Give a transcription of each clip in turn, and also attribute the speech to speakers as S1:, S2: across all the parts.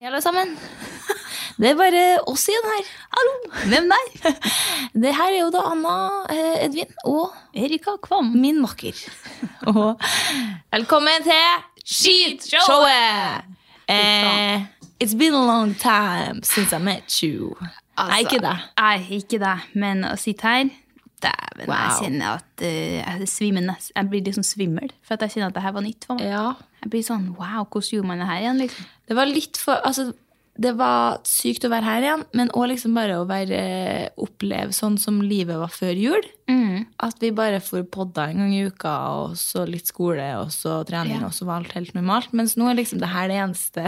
S1: Hei, alle sammen. Det er bare oss igjen her. Hallo! Hvem der? Det her er jo da Anna eh, Edvin og Erika Kvam, min makker. Og velkommen til Skitshowet! Eh, it's been a long time since I met you. Nei, ikke det.
S2: Altså, Nei, ikke det. Men å sitte her Dæven, jeg
S1: Wow.
S2: kjenner at eh, jeg, svimer nes- jeg blir liksom svimmel. For at jeg kjenner at det her var nytt for meg.
S1: Ja.
S2: Jeg blir sånn Wow, hvordan gjorde man det her igjen? liksom?
S1: Det var litt for Altså, det var sykt å være her igjen, men òg liksom bare å være, oppleve sånn som livet var før jul.
S2: Mm.
S1: At vi bare får podda en gang i uka, og så litt skole, og så trening, og så var alt helt normalt. Mens nå er liksom det her det eneste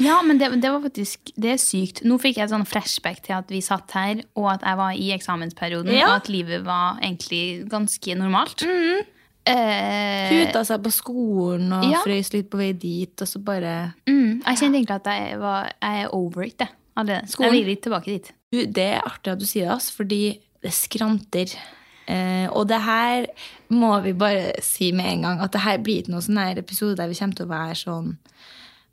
S2: Ja, men det, det var faktisk Det er sykt. Nå fikk jeg sånn flashback til at vi satt her, og at jeg var i eksamensperioden,
S1: Ja. Mhm.
S2: og at livet var egentlig ganske normalt. eh,
S1: Puta seg på skolen og
S2: Ja.
S1: frøys litt på vei dit, og så bare
S2: mm, jeg kjente egentlig at jeg, var, jeg er over it. Jeg, allerede.
S1: Skolen?
S2: jeg vil litt tilbake dit.
S1: Du, det er artig at du sier det, ass, fordi det skranter. Eh, og det her må vi bare si med en gang, at det her blir ikke noen sånn her episode der vi kommer til å være sånn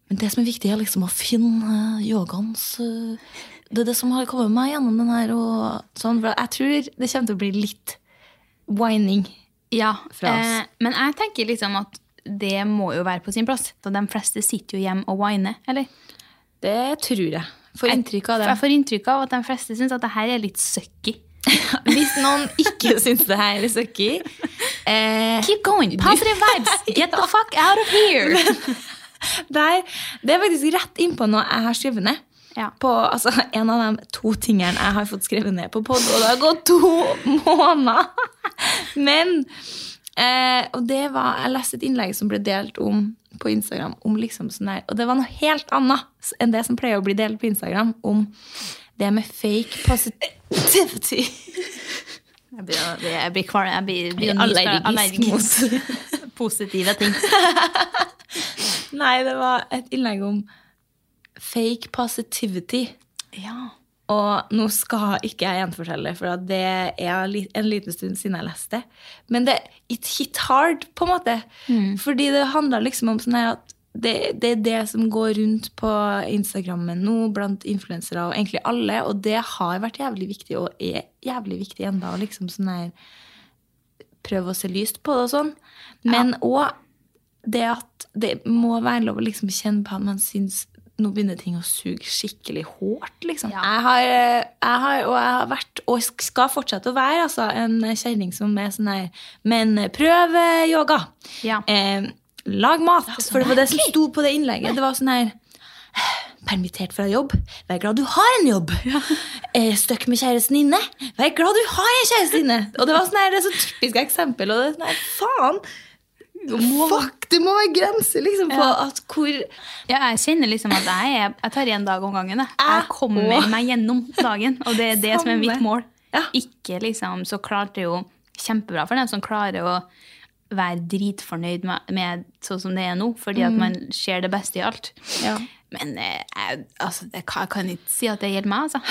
S1: Men det som er viktig, er liksom å finne eh, yogaens eh, Det er det som har kommet meg gjennom den her, og sånn. For jeg tror det kommer til å bli litt whining.
S2: Ja,
S1: fra oss.
S2: Eh, men jeg tenker liksom at det må jo være på sin plass. Så de fleste sitter jo hjemme og whiner, eller?
S1: Det tror jeg. Får inntrykk av det.
S2: Jeg får inntrykk av at de fleste syns at det her er litt sucky.
S1: Hvis noen ikke syns det her er sucky eh,
S2: Keep going! Positive vibes! Get the fuck out of here!
S1: Der, det er faktisk rett innpå noe jeg har skrevet ned.
S2: Ja.
S1: På, altså, en av de to tingene jeg har fått skrevet ned på pod, og det har gått to måneder! Men eh, Og det var Jeg leste et innlegg som ble delt om på Instagram, om liksom sånn der, og det var noe helt annet enn det som pleier å bli delt på Instagram, om det med fake positivity.
S2: Jeg blir, jeg blir kvalm. Jeg blir, jeg blir
S1: Allergisk
S2: mot positive ting.
S1: Nei, det var et innlegg om fake positivity.
S2: Ja.
S1: Og nå skal ikke jeg gjenfortelle, for at det er li- en liten stund siden jeg leste det. Men det it hit hard, på en måte. Fordi det handler liksom om sånn her at det, det er det som går rundt på Instagrammen nå blant influensere og egentlig alle, og det har vært jævlig viktig og er jævlig viktig enda, å liksom sånn her prøve å se lyst på det og sånn. Men òg det at det må være lov å liksom kjenne på at man syns nå begynner ting å suge skikkelig hårt. liksom. Jeg, har, eh, jeg har, og jeg har vært, og sk- skal fortsette å være, altså, en kjerring som er sånn her Men prøv eh, yoga.
S2: Ja.
S1: Eh, lag mat. For det var det som sto på det innlegget. Det var sånn her Permittert fra jobb. Vær glad du har en jobb. Eh, Støkk med kjæresten inne. Vær glad du har en kjæreste inne. Og det var sånn her, det er så typisk eksempel. Og det er sånn her, faen! Fuck, det må være grenser liksom, på at hvor
S2: Ja, jeg kjenner liksom at jeg, er, jeg tar én dag om gangen. Jeg,
S1: Jeg
S2: jeg kommer
S1: også.
S2: meg gjennom dagen, og det er det som er mitt
S1: Ah. Samme.
S2: mål.
S1: Ja.
S2: Ikke liksom, Så klart det er jo kjempebra for dem som klarer å være dritfornøyd med, med sånn som det er nå, fordi at man ser det beste i alt.
S1: Mm. Ja.
S2: Men eh, jeg, altså, det, kan- jeg kan ikke si at det gjelder meg, altså.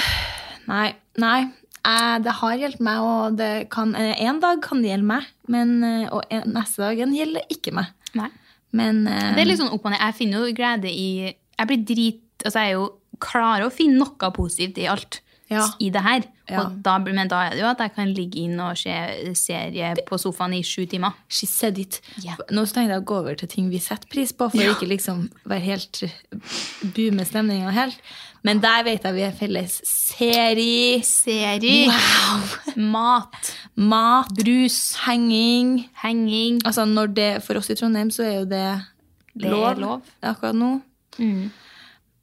S1: Nei. nei. Eh, det har hjulpet meg, og det kan, eh, en dag kan det gjelde meg, men, eh, og en, neste dagen gjelder det ikke meg. Men eh,
S2: Det er litt sånn opp og ned. Jeg finner jo glede i Jeg blir drit Altså, jeg er jo klarer å finne noe positivt i alt.
S1: Ja.
S2: I det her.
S1: Ja.
S2: Og da, blir- men da er det jo at jeg kan ligge inn og se serie på sofaen i sju timer.
S1: She said it.
S2: Ja.
S1: Nå tenkte jeg å gå over til ting vi setter pris på, for å ikke liksom være helt boome stemninga helt. Men der vet jeg vi er felles. Serie,
S2: Serie. Mat.
S1: mat, brus, henging.
S2: Henging.
S1: Altså når det, For oss i Trondheim så er jo det,
S2: Det er lov. Mm.
S1: akkurat nå.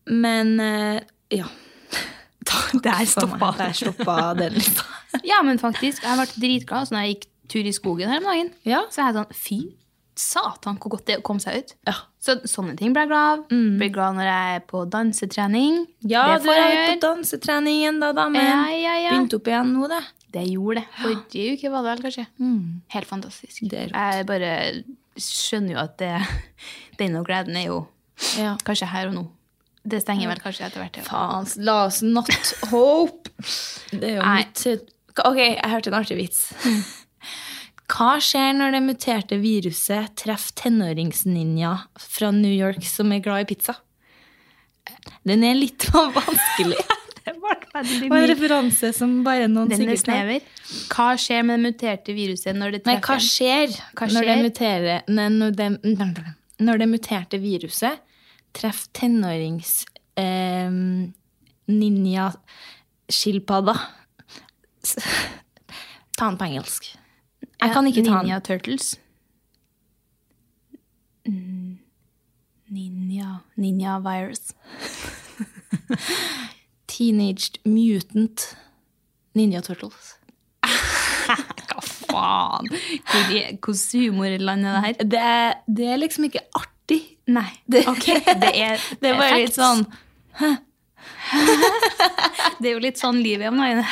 S1: Men eh, ja.
S2: Der
S1: For meg,
S2: stoppa.
S1: Der stoppa den lista.
S2: Ja, men faktisk. Jeg ble dritglad så når jeg gikk tur i skogen her om dagen.
S1: Ja.
S2: Så er jeg sånn Fy satan, hvor godt det kom seg ut.
S1: Ja. Mm.
S2: Så sånne ting blir jeg glad av. Blir glad når jeg er på dansetrening.
S1: Ja,
S2: det
S1: du
S2: får jeg
S1: er på
S2: gjøre.
S1: dansetrening igjen, da, damen.
S2: Ja, ja, ja.
S1: Begynte opp igjen nå, det.
S2: Det gjorde det. Forrige uke var det vel, kanskje. Helt fantastisk.
S1: Mm. Det er rått.
S2: Jeg bare skjønner jo at det, denne gleden er jo
S1: Ja.
S2: kanskje her og nå. Det stenger vel kanskje etter hvert. ja.
S1: Faen, la oss not hope. Det er jo
S2: Nei. Mm.
S1: mitt eh, Ok, jeg hørte en artig vits. Hva skjer når det muterte viruset treffer tenåringsninja fra New York som er glad i pizza? Den er litt vanskelig.
S2: Det ble
S1: Og
S2: veldig
S1: en
S2: mye.
S1: referanse som bare noen
S2: Den er
S1: sikkert har.
S2: snever. Hva skjer med det muterte viruset når det
S1: Nei, hva
S2: treffer?
S1: skjer,
S2: Hva
S1: Når, det
S2: skjer?
S1: muterer, nei, når, det, når det muterte viruset treffer tenårings eh, ninja-skilpadda? S- Ta den på engelsk. Jeg kan ikke ta den.
S2: Ninja Turtles. Mm. Ninja Ninja virus.
S1: Teenaged Mutant Ninja Turtles.
S2: Hva faen? Hvor i- Hvordan humorland er det her?
S1: Det er, det er liksom ikke artig.
S2: Nei.
S1: Det-
S2: ok, det er
S1: Det er bare
S2: facts.
S1: litt sånn
S2: Det er jo litt sånn livet er om dagen.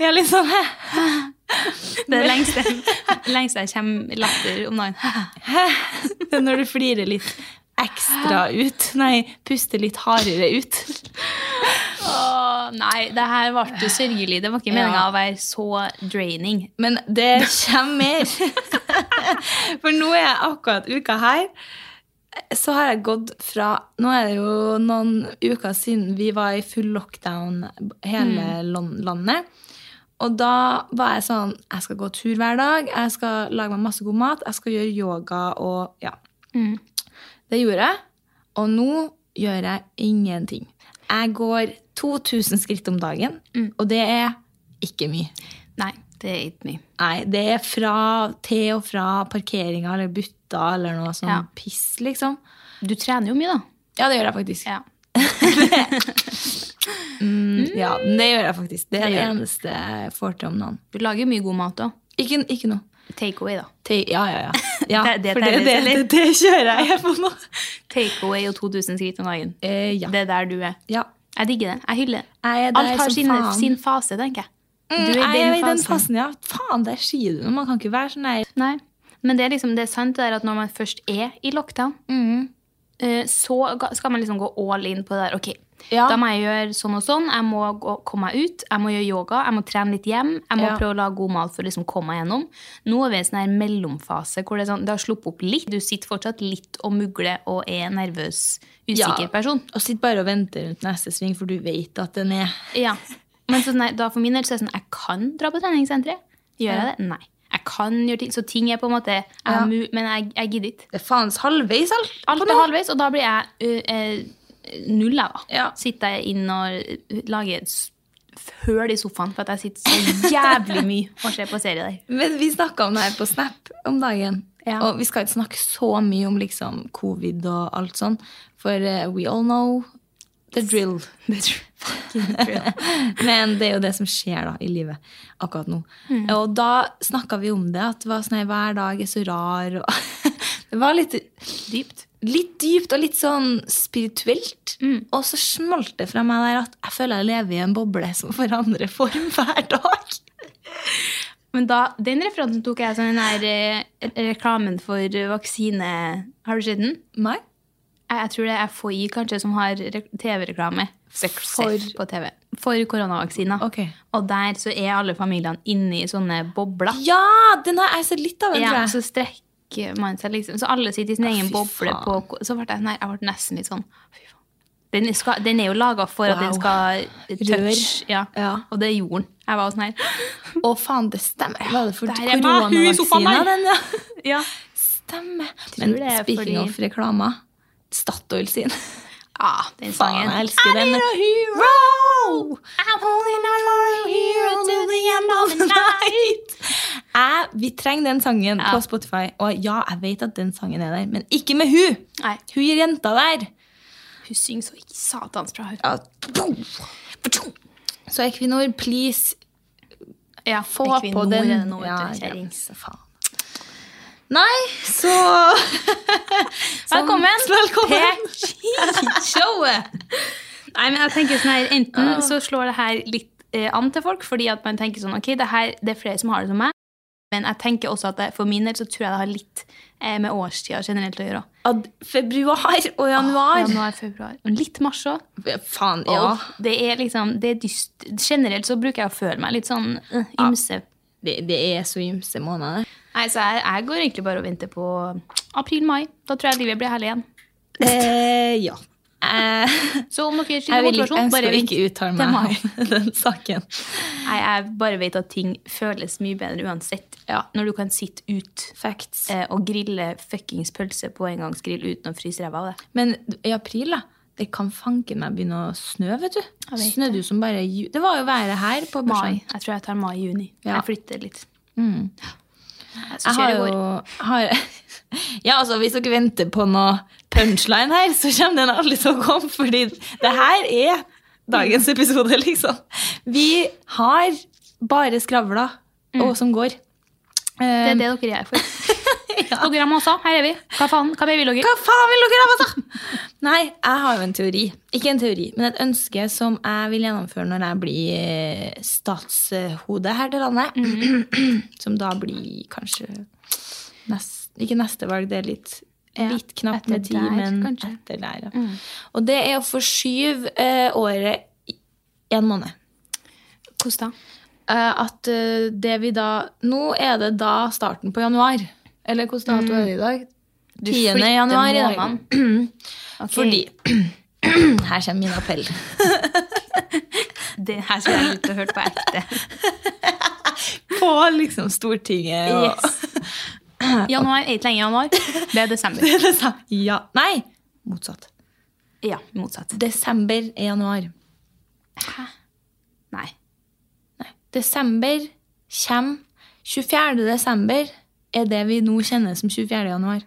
S1: Ja, litt sånn
S2: Det er lengste, lengste jeg kommer latter om dagen.
S1: Det er når du flirer litt ekstra ut. Nei, puster litt hardere ut.
S2: Åh, nei, det her ble jo sørgelig. Det var ikke meninga å være så draining.
S1: Men det kommer mer. For nå er jeg akkurat uka her. Så har jeg gått fra Nå er det jo noen uker siden vi var i full lockdown hele lon- landet. Og da var jeg sånn Jeg skal gå tur hver dag. Jeg skal lage meg masse god mat. Jeg skal gjøre yoga og Ja. Det gjorde jeg. Og nå gjør jeg ingenting. Jeg går 2000 skritt om dagen, og det er ikke mye.
S2: Nei, det er ikke mye.
S1: Nei, det er fra til og fra parkeringa eller butta eller noe sånn
S2: Ja.
S1: piss, liksom.
S2: Du trener jo mye, da.
S1: Ja, det gjør jeg faktisk.
S2: Ja.
S1: Mm, ja det gjør jeg faktisk. Det er det,
S2: gjør du.
S1: eneste jeg får til om dagen.
S2: Du lager mye god mat òg.
S1: Ikke, ikke noe.
S2: Takeaway, da.
S1: Til, ja, ja, ja. ja
S2: Det- det
S1: for det,
S2: telles,
S1: det, det,
S2: eller?
S1: det kjører jeg på nå.
S2: Takeaway og 2000 skritt om dagen.
S1: Eh, ja.
S2: Det er der du er.
S1: ja.
S2: Jeg digger det. Jeg hyller det.
S1: Jeg er der
S2: Alt har
S1: som
S2: sin,
S1: faen.
S2: sin fase, tenker Mm, jeg.
S1: Du
S2: Du er i
S1: er i
S2: den
S1: den
S2: fasen.
S1: fasen, ja. Faen, der sier du noe. Man kan ikke være sånn der.
S2: Nei. Men det er, liksom, det er sant det der at når man først er i lockdown,
S1: Mhm.
S2: eh, så ga- skal man liksom gå all in på det der. Ok,
S1: Ja.
S2: da må jeg gjøre sånn og sånn. Jeg må gå, komme meg ut. Jeg må gjøre yoga. Jeg må trene litt hjem. Jeg må
S1: Ja.
S2: prøve å lage god mat for å liksom komme meg gjennom. Nå er vi i en sånn her mellomfase hvor det, er sånn, det har sluppet opp litt. Du sitter fortsatt litt og mugler og er en nervøs, usikker
S1: Ja.
S2: person.
S1: Og sitter bare og venter rundt neste sving, for du vet at den er
S2: Ja. Men sånn, nei, da for min del så er det sånn, jeg kan dra på treningssenteret. Gjør jeg det? Nei. Jeg kan gjøre ting. Så ting er på en måte jeg, har mu- Men jeg, jeg gidder ikke.
S1: Det er faens halvveis alt.
S2: Alt
S1: på
S2: er
S1: nå.
S2: halvveis, og da blir jeg ø, ø, null, jeg, da.
S1: Ja.
S2: Sitter jeg inn og ø, lager s- høl i sofaen for at jeg sitter så jævlig mye og ser på serie der.
S1: Men vi snakka om det her på Snap om dagen.
S2: Ja.
S1: Og vi skal ikke snakke så mye om liksom covid og alt sånn, for eh, we all know the drill. Men det er jo det som skjer da i livet akkurat nå. Og da snakka vi om det, at det var sånn, her, hver dag er så rar. Og det var litt,
S2: Dypt.
S1: litt dypt og litt sånn spirituelt. Og så smalt det fra meg der at jeg føler jeg lever i en boble som forandrer form hver dag.
S2: Men da, den referansen tok jeg sånn den der eh, reklamen for vaksine. Har du sett den?
S1: Nei?
S2: Jeg, jeg tror det er FHI kanskje som har re- TV-reklame for, på TV. For koronavaksiner.
S1: Ok.
S2: Og der så er alle familiene inni sånne bobler.
S1: Ja, den har jeg sett litt av. Den,
S2: Ja,
S1: tror jeg.
S2: så strekker man seg liksom. Så alle sitter i sin egen
S1: fy
S2: boble.
S1: faen.
S2: På, så ble jeg, sånn her, jeg ble nesten litt sånn fy faen. Den, skal, den er jo laga for at den
S1: Wow.
S2: skal touch.
S1: Rør.
S2: Ja.
S1: Ja.
S2: Og det gjorde den. Jeg var sånn her.
S1: Å, faen, det stemmer. Var det for
S2: Der er meg, hun i sofaen
S1: koronavaksina,
S2: der.
S1: den, ja?
S2: Ja.
S1: Stemmer. Men
S2: det er
S1: speaking
S2: fordi-
S1: of reklama, Statoil sin.
S2: Ah, den
S1: Faen,
S2: sangen.
S1: jeg elsker den. Row! I'm holding on for a hero till the end of the night. Jeg, vi trenger den sangen på Spotify. Og ja, jeg vet at den sangen er der, men ikke med hun!
S2: Nei.
S1: Hun gir jenta der.
S2: Hun synger så ikke satans bra. hun.
S1: Så Equinor, please,
S2: Ja,
S1: få
S2: Equinor
S1: på
S2: er
S1: den.
S2: det nå, vet du,
S1: ja,
S2: kjerring.
S1: ja, faen. Nei, så
S2: Velkommen!
S1: Velkommen.
S2: Showet! Nei, men jeg tenker sånn her, Enten så slår det her litt eh, an til folk, fordi at man tenker sånn, ok, det, her, det er flere som har det som meg. Men jeg tenker også at det, for min del så tror jeg det har litt eh, med årstida generelt å gjøre.
S1: Ad februar og januar.
S2: Januar, februar. Og litt mars òg.
S1: Faen, ja.
S2: Det er liksom, det er dyst. Generelt så bruker jeg å føle meg litt sånn eh, ymse.
S1: Det, det er så ymse måneder.
S2: Nei, så jeg, jeg går egentlig bare og venter på april-mai. Da tror jeg livet blir herlig igjen.
S1: Eh, ja. Eh,
S2: Så om dere sliter
S1: jeg,
S2: med
S1: vil, ikke-
S2: motivasjon,
S1: jeg
S2: bare
S1: skal
S2: vent.
S1: ikke uttale
S2: til mai.
S1: meg om den saken.
S2: Nei, jeg bare vet at ting føles mye bedre uansett. Når du kan sitte ut
S1: Facts.
S2: eh, og grille fuckings pølse på engangsgrill uten å fryse ræva av det.
S1: Men i april, da. Det kan fanken meg begynne å snø, vet du.
S2: vet
S1: Snødde jo som bare ju- Det var jo været her på
S2: Mai.
S1: bursdagen.
S2: Jeg tror jeg tar mai-juni.
S1: Ja.
S2: Jeg flytter litt. Mm. Jeg,
S1: Jeg
S2: skal
S1: har
S2: kjøre i går.
S1: jo har, Ja, altså, hvis dere venter på noe punchline her, så kommer den aldri til å komme, fordi det her er dagens episode, liksom. Vi har bare skravla, og som går.
S2: Det
S1: Eh,
S2: er det dere er for. Dere må også. Her er vi. Hva faen? Hva baby
S1: Hva faen vil dere ha, altså? Nei, jeg har jo en teori. Ikke en teori, men et ønske som jeg vil gjennomføre når jeg blir eh, statshode her til landet. Som da blir kanskje nest, Ikke neste valg, det er litt
S2: Ja,
S1: Litt knapt
S2: etter
S1: med tid,
S2: der,
S1: men
S2: kanskje.
S1: etter der. Ja. Og det er å forskyve eh, året i- en måned.
S2: Hvordan da?
S1: Eh, at eh, det vi da Nå er det da starten på januar. Eller hvordan dato er det i dag?
S2: Du
S1: 10.
S2: flytter
S1: januar i dag.
S2: måneden. Ok.
S1: Fordi Mm. Her kommer min appell.
S2: Det her skulle jeg likt å høre på ekte.
S1: På liksom Stortinget
S2: Yes. Januar er ikke lenge januar. Det er desember.
S1: Ja. Nei, motsatt.
S2: Ja, motsatt.
S1: Desember er januar.
S2: Nei.
S1: Desember kommer 24. desember er det vi nå kjenner som 24. januar.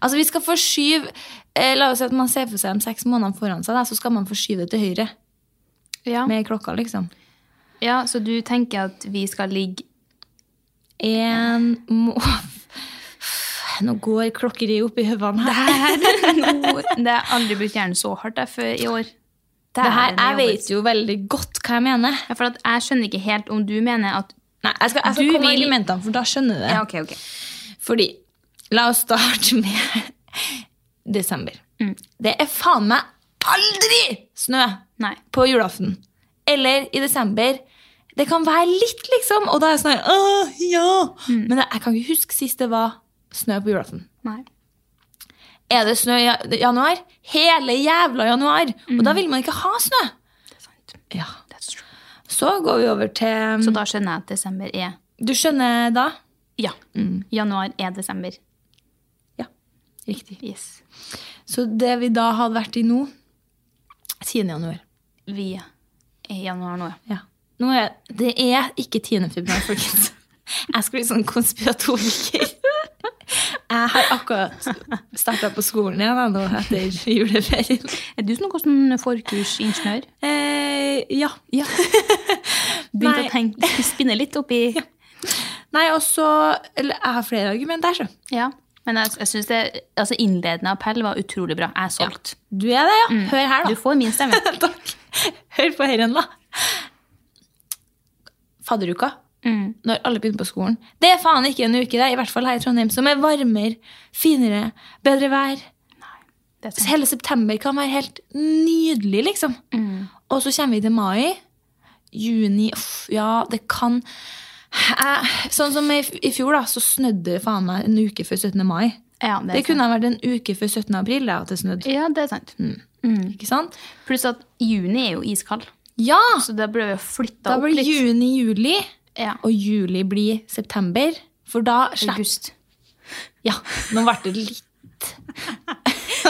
S1: Altså, vi skal forskyve eh, La oss si at man ser for seg de seks månedene foran seg, da, så skal man forskyve det til høyre
S2: Ja.
S1: med klokka, liksom.
S2: ja, så du tenker at vi skal ligge
S1: En må... Nå går klokkeriet opp i høvene her.
S2: Nå- Det har aldri brukt hjernen så hardt jeg, før i år.
S1: Det her,
S2: Dæven,
S1: jeg
S2: jobber.
S1: vet jo veldig godt hva jeg mener.
S2: Ja, for at jeg skjønner ikke helt om du mener at
S1: Nei, jeg skal, jeg skal
S2: Du
S1: komme med
S2: vil-
S1: argumentene, for da skjønner du det.
S2: Ja, ok, ok.
S1: Fordi, la oss starte med desember. Det er faen meg aldri snø
S2: Nei.
S1: på julaften. Eller i desember. Det kan være litt, liksom. Og da er jeg sånn her, Åh, ja. Men jeg kan ikke huske sist det var snø på julaften.
S2: Nei.
S1: Er det snø i ja- januar? Hele jævla januar. Og da vil man ikke ha snø. Ja.
S2: That's true.
S1: Så går vi over til
S2: Så da skjønner jeg at desember er
S1: Du skjønner da?
S2: Ja. Januar er desember.
S1: Ja. Riktig.
S2: Yes.
S1: Så det vi da hadde vært i nå 10. januar.
S2: Vi er i januar nå.
S1: Ja. Nå er, det er ikke 10. februar, folkens. Jeg skal bli sånn konspiratoriker. Jeg har akkurat starta på skolen igjen jeg, nå etter juleferien.
S2: Er du sånn hvordan forkursingeniør?
S1: Eh, ja.
S2: Begynte
S1: Nei.
S2: å tenke, spinne litt oppi Ja.
S1: Nei, og så Eller jeg har flere argumenter, så.
S2: Men jeg, jeg synes det, altså innledende appell var utrolig bra. Jeg er solgt.
S1: Du er det, ja. Hør her, da.
S2: Du får min stemme.
S1: Takk. Hør på herren, da. Fadderuka
S2: Mm.
S1: når alle begynner på skolen. Det er faen ikke en uke, det er i hvert fall her i Trondheim, som er varmere, finere, bedre vær.
S2: Det er
S1: Så
S2: sant.
S1: hele september kan være helt nydelig, liksom.
S2: Mm.
S1: Og så kommer vi til mai. Juni uff, Ja, det kan jeg, Sånn som i, i fjor, da, så snødde det faen meg en uke før 17. mai.
S2: Ja,
S1: Det,
S2: det er sant.
S1: kunne ha vært en uke før 17. april da, at det snødde.
S2: Ja, det er sant.
S1: Ikke sant?
S2: Pluss at juni er jo iskald.
S1: Ja!
S2: Så da blir vi jo flytta
S1: Da
S2: opp
S1: blir
S2: litt.
S1: juni-juli,
S2: Ja.
S1: og juli blir september. For da slipper
S2: August.
S1: Ja, nå ble det litt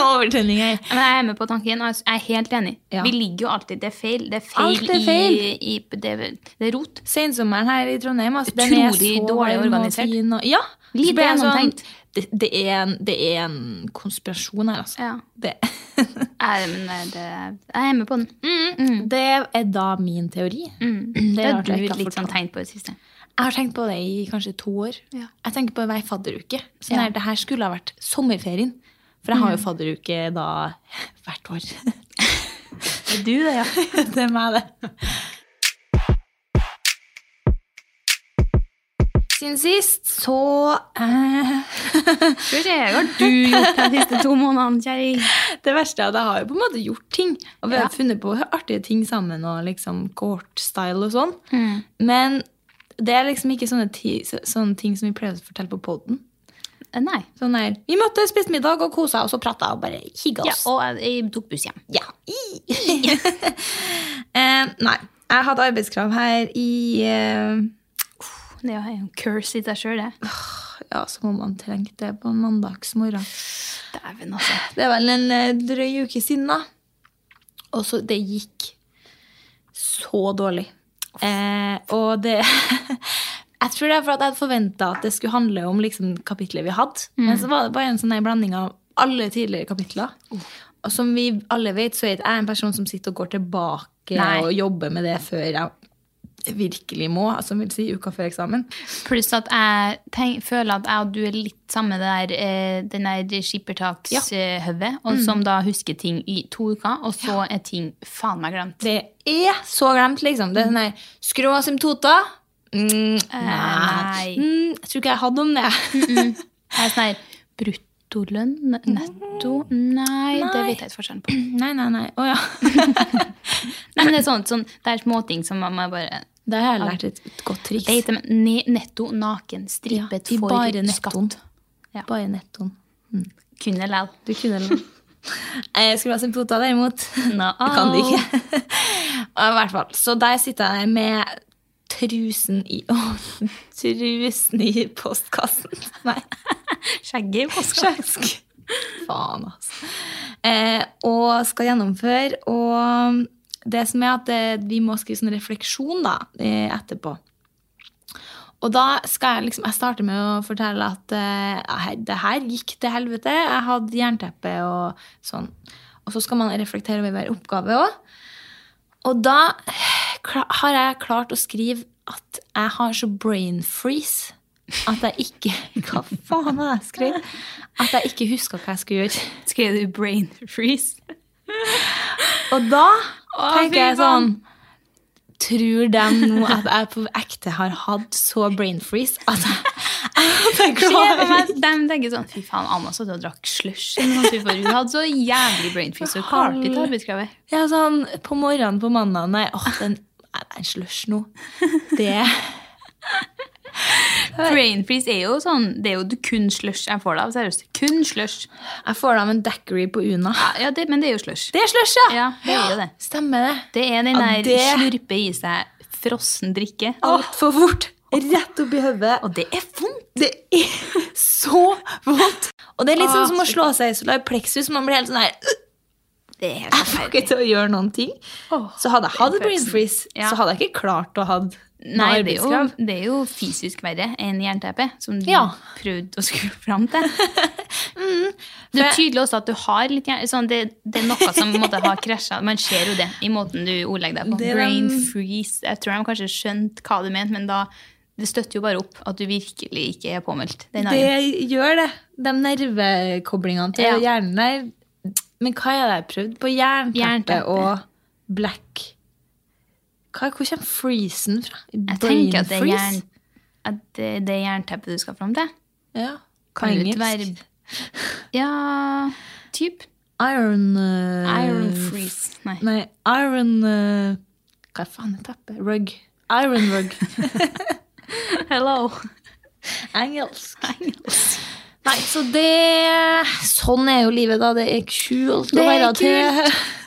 S1: overtenning her.
S2: Men jeg er med på tanken. og Jeg er helt enig.
S1: Ja.
S2: Vi ligger jo alltid Det er feil. Det er feil,
S1: Alt er feil.
S2: I, i, det, er- det er rot.
S1: Sensommeren her i Trondheim altså, den er
S2: Utrolig
S1: så
S2: dårlig
S1: varm og
S2: organisert.
S1: fin Og, ja, så
S2: Lite
S1: ble jeg sånn-
S2: gjennomtenkt.
S1: det, det, er en, det er en konspirasjon her, altså.
S2: Ja.
S1: Det,
S2: Jeg, men det, det- jeg er med på den. Mm,
S1: det er da min teori. Mm, Det
S2: Det
S1: er
S2: har
S1: rart
S2: du
S1: jeg ikke har
S2: litt sånn
S1: fortalt.
S2: tegn på i det siste.
S1: Jeg har tenkt på det i kanskje to år.
S2: Ja.
S1: Jeg tenker på hver fadderuke. Sånn
S2: Ja. Mm.
S1: her, det her skulle ha vært sommerferien. For jeg har jo fadderuke da hvert år.
S2: Er du det, ja?
S1: det er meg, det. Siden sist så eh,
S2: Skal vi se, hva har du gjort de siste to månedene, kjæring?
S1: Det verste er at jeg har jo på en måte gjort ting. Og vi har
S2: Ja.
S1: funnet på artige ting sammen og liksom court-style og sånn.
S2: Mm.
S1: Men det er liksom ikke sånne, ti, så- sånne ting som vi pleier å fortelle på poden.
S2: Eh, Nei.
S1: Sånn der, Vi møtte, spiste middag og kosa oss og prata og bare hygga
S2: Ja,
S1: oss.
S2: og jeg, jeg tok buss hjem.
S1: Ja. I. eh, nei. Jeg hadde arbeidskrav her i eh,
S2: Det er jo en curse i seg sjøl, det.
S1: Ja, som om man trengte det på en mandagsmorgen.
S2: Dæven, altså.
S1: Det er vel en eh, drøy uke siden, da. Og så Det gikk så dårlig. Eh, og det Jeg tror det er for at jeg hadde forventa at det skulle handle om liksom, kapitlet vi hadde. Men så var det bare en sånn der blanding av alle tidligere kapitler. Og som vi alle vet, så er ikke jeg en person som sitter og går tilbake
S2: Nei.
S1: og jobber med det før jeg virkelig må, som vil si uka før eksamen.
S2: Pluss at jeg tenk, føler at jeg og du er litt samme det der, eh, den der skippertakshøvet, og
S1: Mm.
S2: som da husker ting i to uker, og så er ting faen meg glemt.
S1: Det er så glemt, liksom. Det er sånn der Skrå asymptota. Mm,
S2: Eh,
S1: nei.
S2: nei.
S1: Mm, jeg tror ikke jeg hadde om det.
S2: Jeg er sånn her Bruttolønn? Netto? Nei, det vet jeg ikke forskjellen på.
S1: nei, nei, nei. Å ja.
S2: Nei, men det er sånn, sånn, det er småting som man bare
S1: Der har jeg lært et, et godt triks.
S2: Det heter ne- netto naken,
S1: Ja,
S2: strippet
S1: i
S2: for
S1: bare nettoen.
S2: skatt. Ja.
S1: Bare nettoen.
S2: Kunne lel.
S1: Du kunne den. Jeg skulle ha symptota, derimot.
S2: No.
S1: Det kan du ikke. Og I hvert fall. Så der sitter jeg med trusen i Trusen i postkassen. Nei.
S2: Skjegget i postkassa.
S1: Kjøsk. Faen, altså. Eh, og skal gjennomføre. Og det som er at eh, vi må skrive sånn refleksjon da, eh, etterpå. Og da skal jeg liksom, jeg starter med å fortelle at eh, her- det her gikk til helvete. Jeg hadde jernteppe og sånn. Og så skal man reflektere over hver oppgave òg. Og da kla- har jeg klart å skrive at jeg har så brain freeze at jeg ikke Hva faen har jeg skrevet? At jeg ikke huska hva jeg skulle gjøre.
S2: Skrev du brain freeze?
S1: Og da
S2: fy
S1: tenker jeg sånn
S2: faen.
S1: Tror de nå at jeg på ekte har hatt så brain freeze at jeg, at jeg klarer
S2: De tenker sånn Fy faen, Anna satt og drakk slush. eller noe sånt, for Hun hadde så jævlig brain freeze. Og klarte ikke arbeidskravet.
S1: Ja, sånn på morgenen på mandagen Nei, åh, den, nei, det er en slush nå. Det
S2: Brain freeze er jo sånn Det er jo kun slush jeg får det av. Seriøst. Kun slush.
S1: Jeg får da en daiquiri på Una.
S2: Ja, det, men det er jo slush.
S1: Det er slush, ja!
S2: Ja, det er jo det.
S1: Stemmer det.
S2: Det er
S1: Ja,
S2: den der
S1: det-
S2: slurpe i seg frossen drikke.
S1: Altfor fort. Rett opp i hodet.
S2: Og det er vondt.
S1: Det er så vondt. Og det er litt sånn
S2: Ah,
S1: som å
S2: så
S1: slå seg i solar plexus. Man blir helt sånn her «Øh,
S2: Det er helt
S1: Jeg får ikke til å gjøre noen ting.
S2: Åh,
S1: Så hadde jeg hatt
S2: den
S1: brain
S2: følelsen.
S1: freeze,
S2: Ja.
S1: så hadde jeg ikke klart å ha noe
S2: Nei, det er, jo,
S1: arbeidskrav.
S2: det er jo fysisk verre enn jernteppe, som du
S1: Ja. Mm.
S2: prøvde å skru fram til. Det er tydelig også at du har litt jern... Sånn, det, det er noe som på en måte har krasja. Man ser jo det i måten du ordlegger deg på.
S1: Det er
S2: Brain
S1: den-
S2: freeze. Jeg tror de kanskje skjønte hva du mente, men da det støtter jo bare opp at du virkelig ikke er påmeldt. Den
S1: Det
S2: dagen.
S1: gjør det. De nervekoblingene til
S2: Ja.
S1: hjernen der. Men hva er det jeg prøvde på? Jernteppe
S2: Jernteppe.
S1: og black hva, Hvor kommer freezen fra?
S2: Jeg tenker at det er jern, at det, det jernteppet du skal fram til,
S1: Ja.
S2: kan jo ikke være Ja, typ.
S1: Iron eh,
S2: Iron freeze. Nei.
S1: Nei, iron eh, Hva faen er teppet? Rug. Iron rug.
S2: Hello.
S1: Engelsk. Nei, så det Sånn er jo livet, da. Det er kult å være til.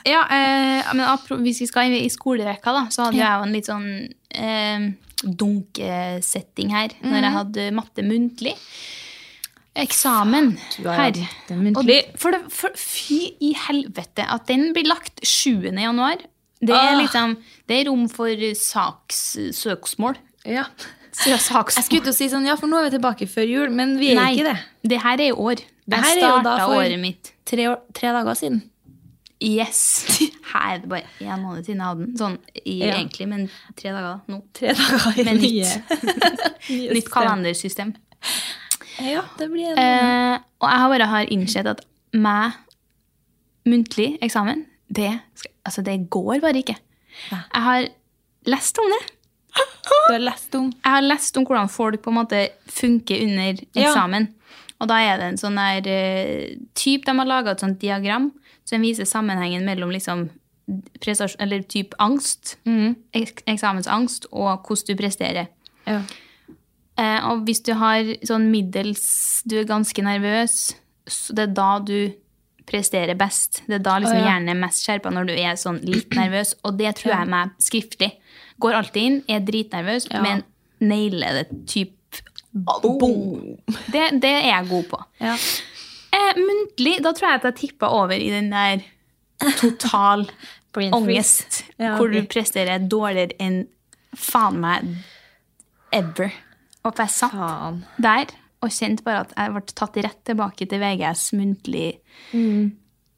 S2: Ja, eh, men apro- hvis vi skal inn i skolerekka, da, så hadde jeg jo en litt sånn eh, dunkesetting her når
S1: Mhm.
S2: jeg hadde matte muntlig. Eksamen
S1: Du har
S2: her.
S1: hatt det muntlig.
S2: Og for det, for, fy i helvete at den blir lagt 7. januar. Det er,
S1: Ah.
S2: liksom, det er rom for saks, søksmål.
S1: Ja.
S2: Sø- saksmål.
S1: Jeg skulle til å si sånn, ja, for nå er vi tilbake før jul, men vi er
S2: Nei,
S1: ikke det.
S2: det her er i år. Det
S1: her er jo
S2: starta
S1: da for-
S2: året mitt.
S1: Tre, år, tre dager siden.
S2: Yes! Her er det bare én måned siden jeg hadde den. Sånn i,
S1: Ja.
S2: egentlig, men tre dager nå.
S1: Tre dager i
S2: Med
S1: nye. nye
S2: Nytt kalendersystem.
S1: Ja, det blir en
S2: Eh, og jeg har bare har innsett at meg, muntlig eksamen, det, skal, altså det går bare ikke. Jeg har lest om det.
S1: Du har lest om.
S2: Jeg har lest om hvordan folk på en måte funker under
S1: Ja.
S2: eksamen. Og da er det en sånn der eh, typ, De har laga et sånt diagram som viser sammenhengen mellom liksom prestasjon, eller typ angst, ek eksamensangst, og hvordan du presterer.
S1: Ja.
S2: Eh, og hvis du har sånn middels Du er ganske nervøs, så det er da du presterer best. Det er da liksom hjernen er mest skjerpa når du er sånn litt nervøs. Og det tror jeg meg skriftlig. Går alltid inn, er dritnervøs, men nailer det typ Boom! Det, det er jeg god på.
S1: Ja.
S2: Eh, muntlig, da tror jeg at jeg tippa over i den der total
S1: Brain freeze.
S2: angst,
S1: Ja,
S2: hvor
S1: ok.
S2: du presterer dårligere enn faen meg ever. Og for jeg satt
S1: Faen.
S2: der og kjente bare at jeg ble tatt rett tilbake til VGS muntlig.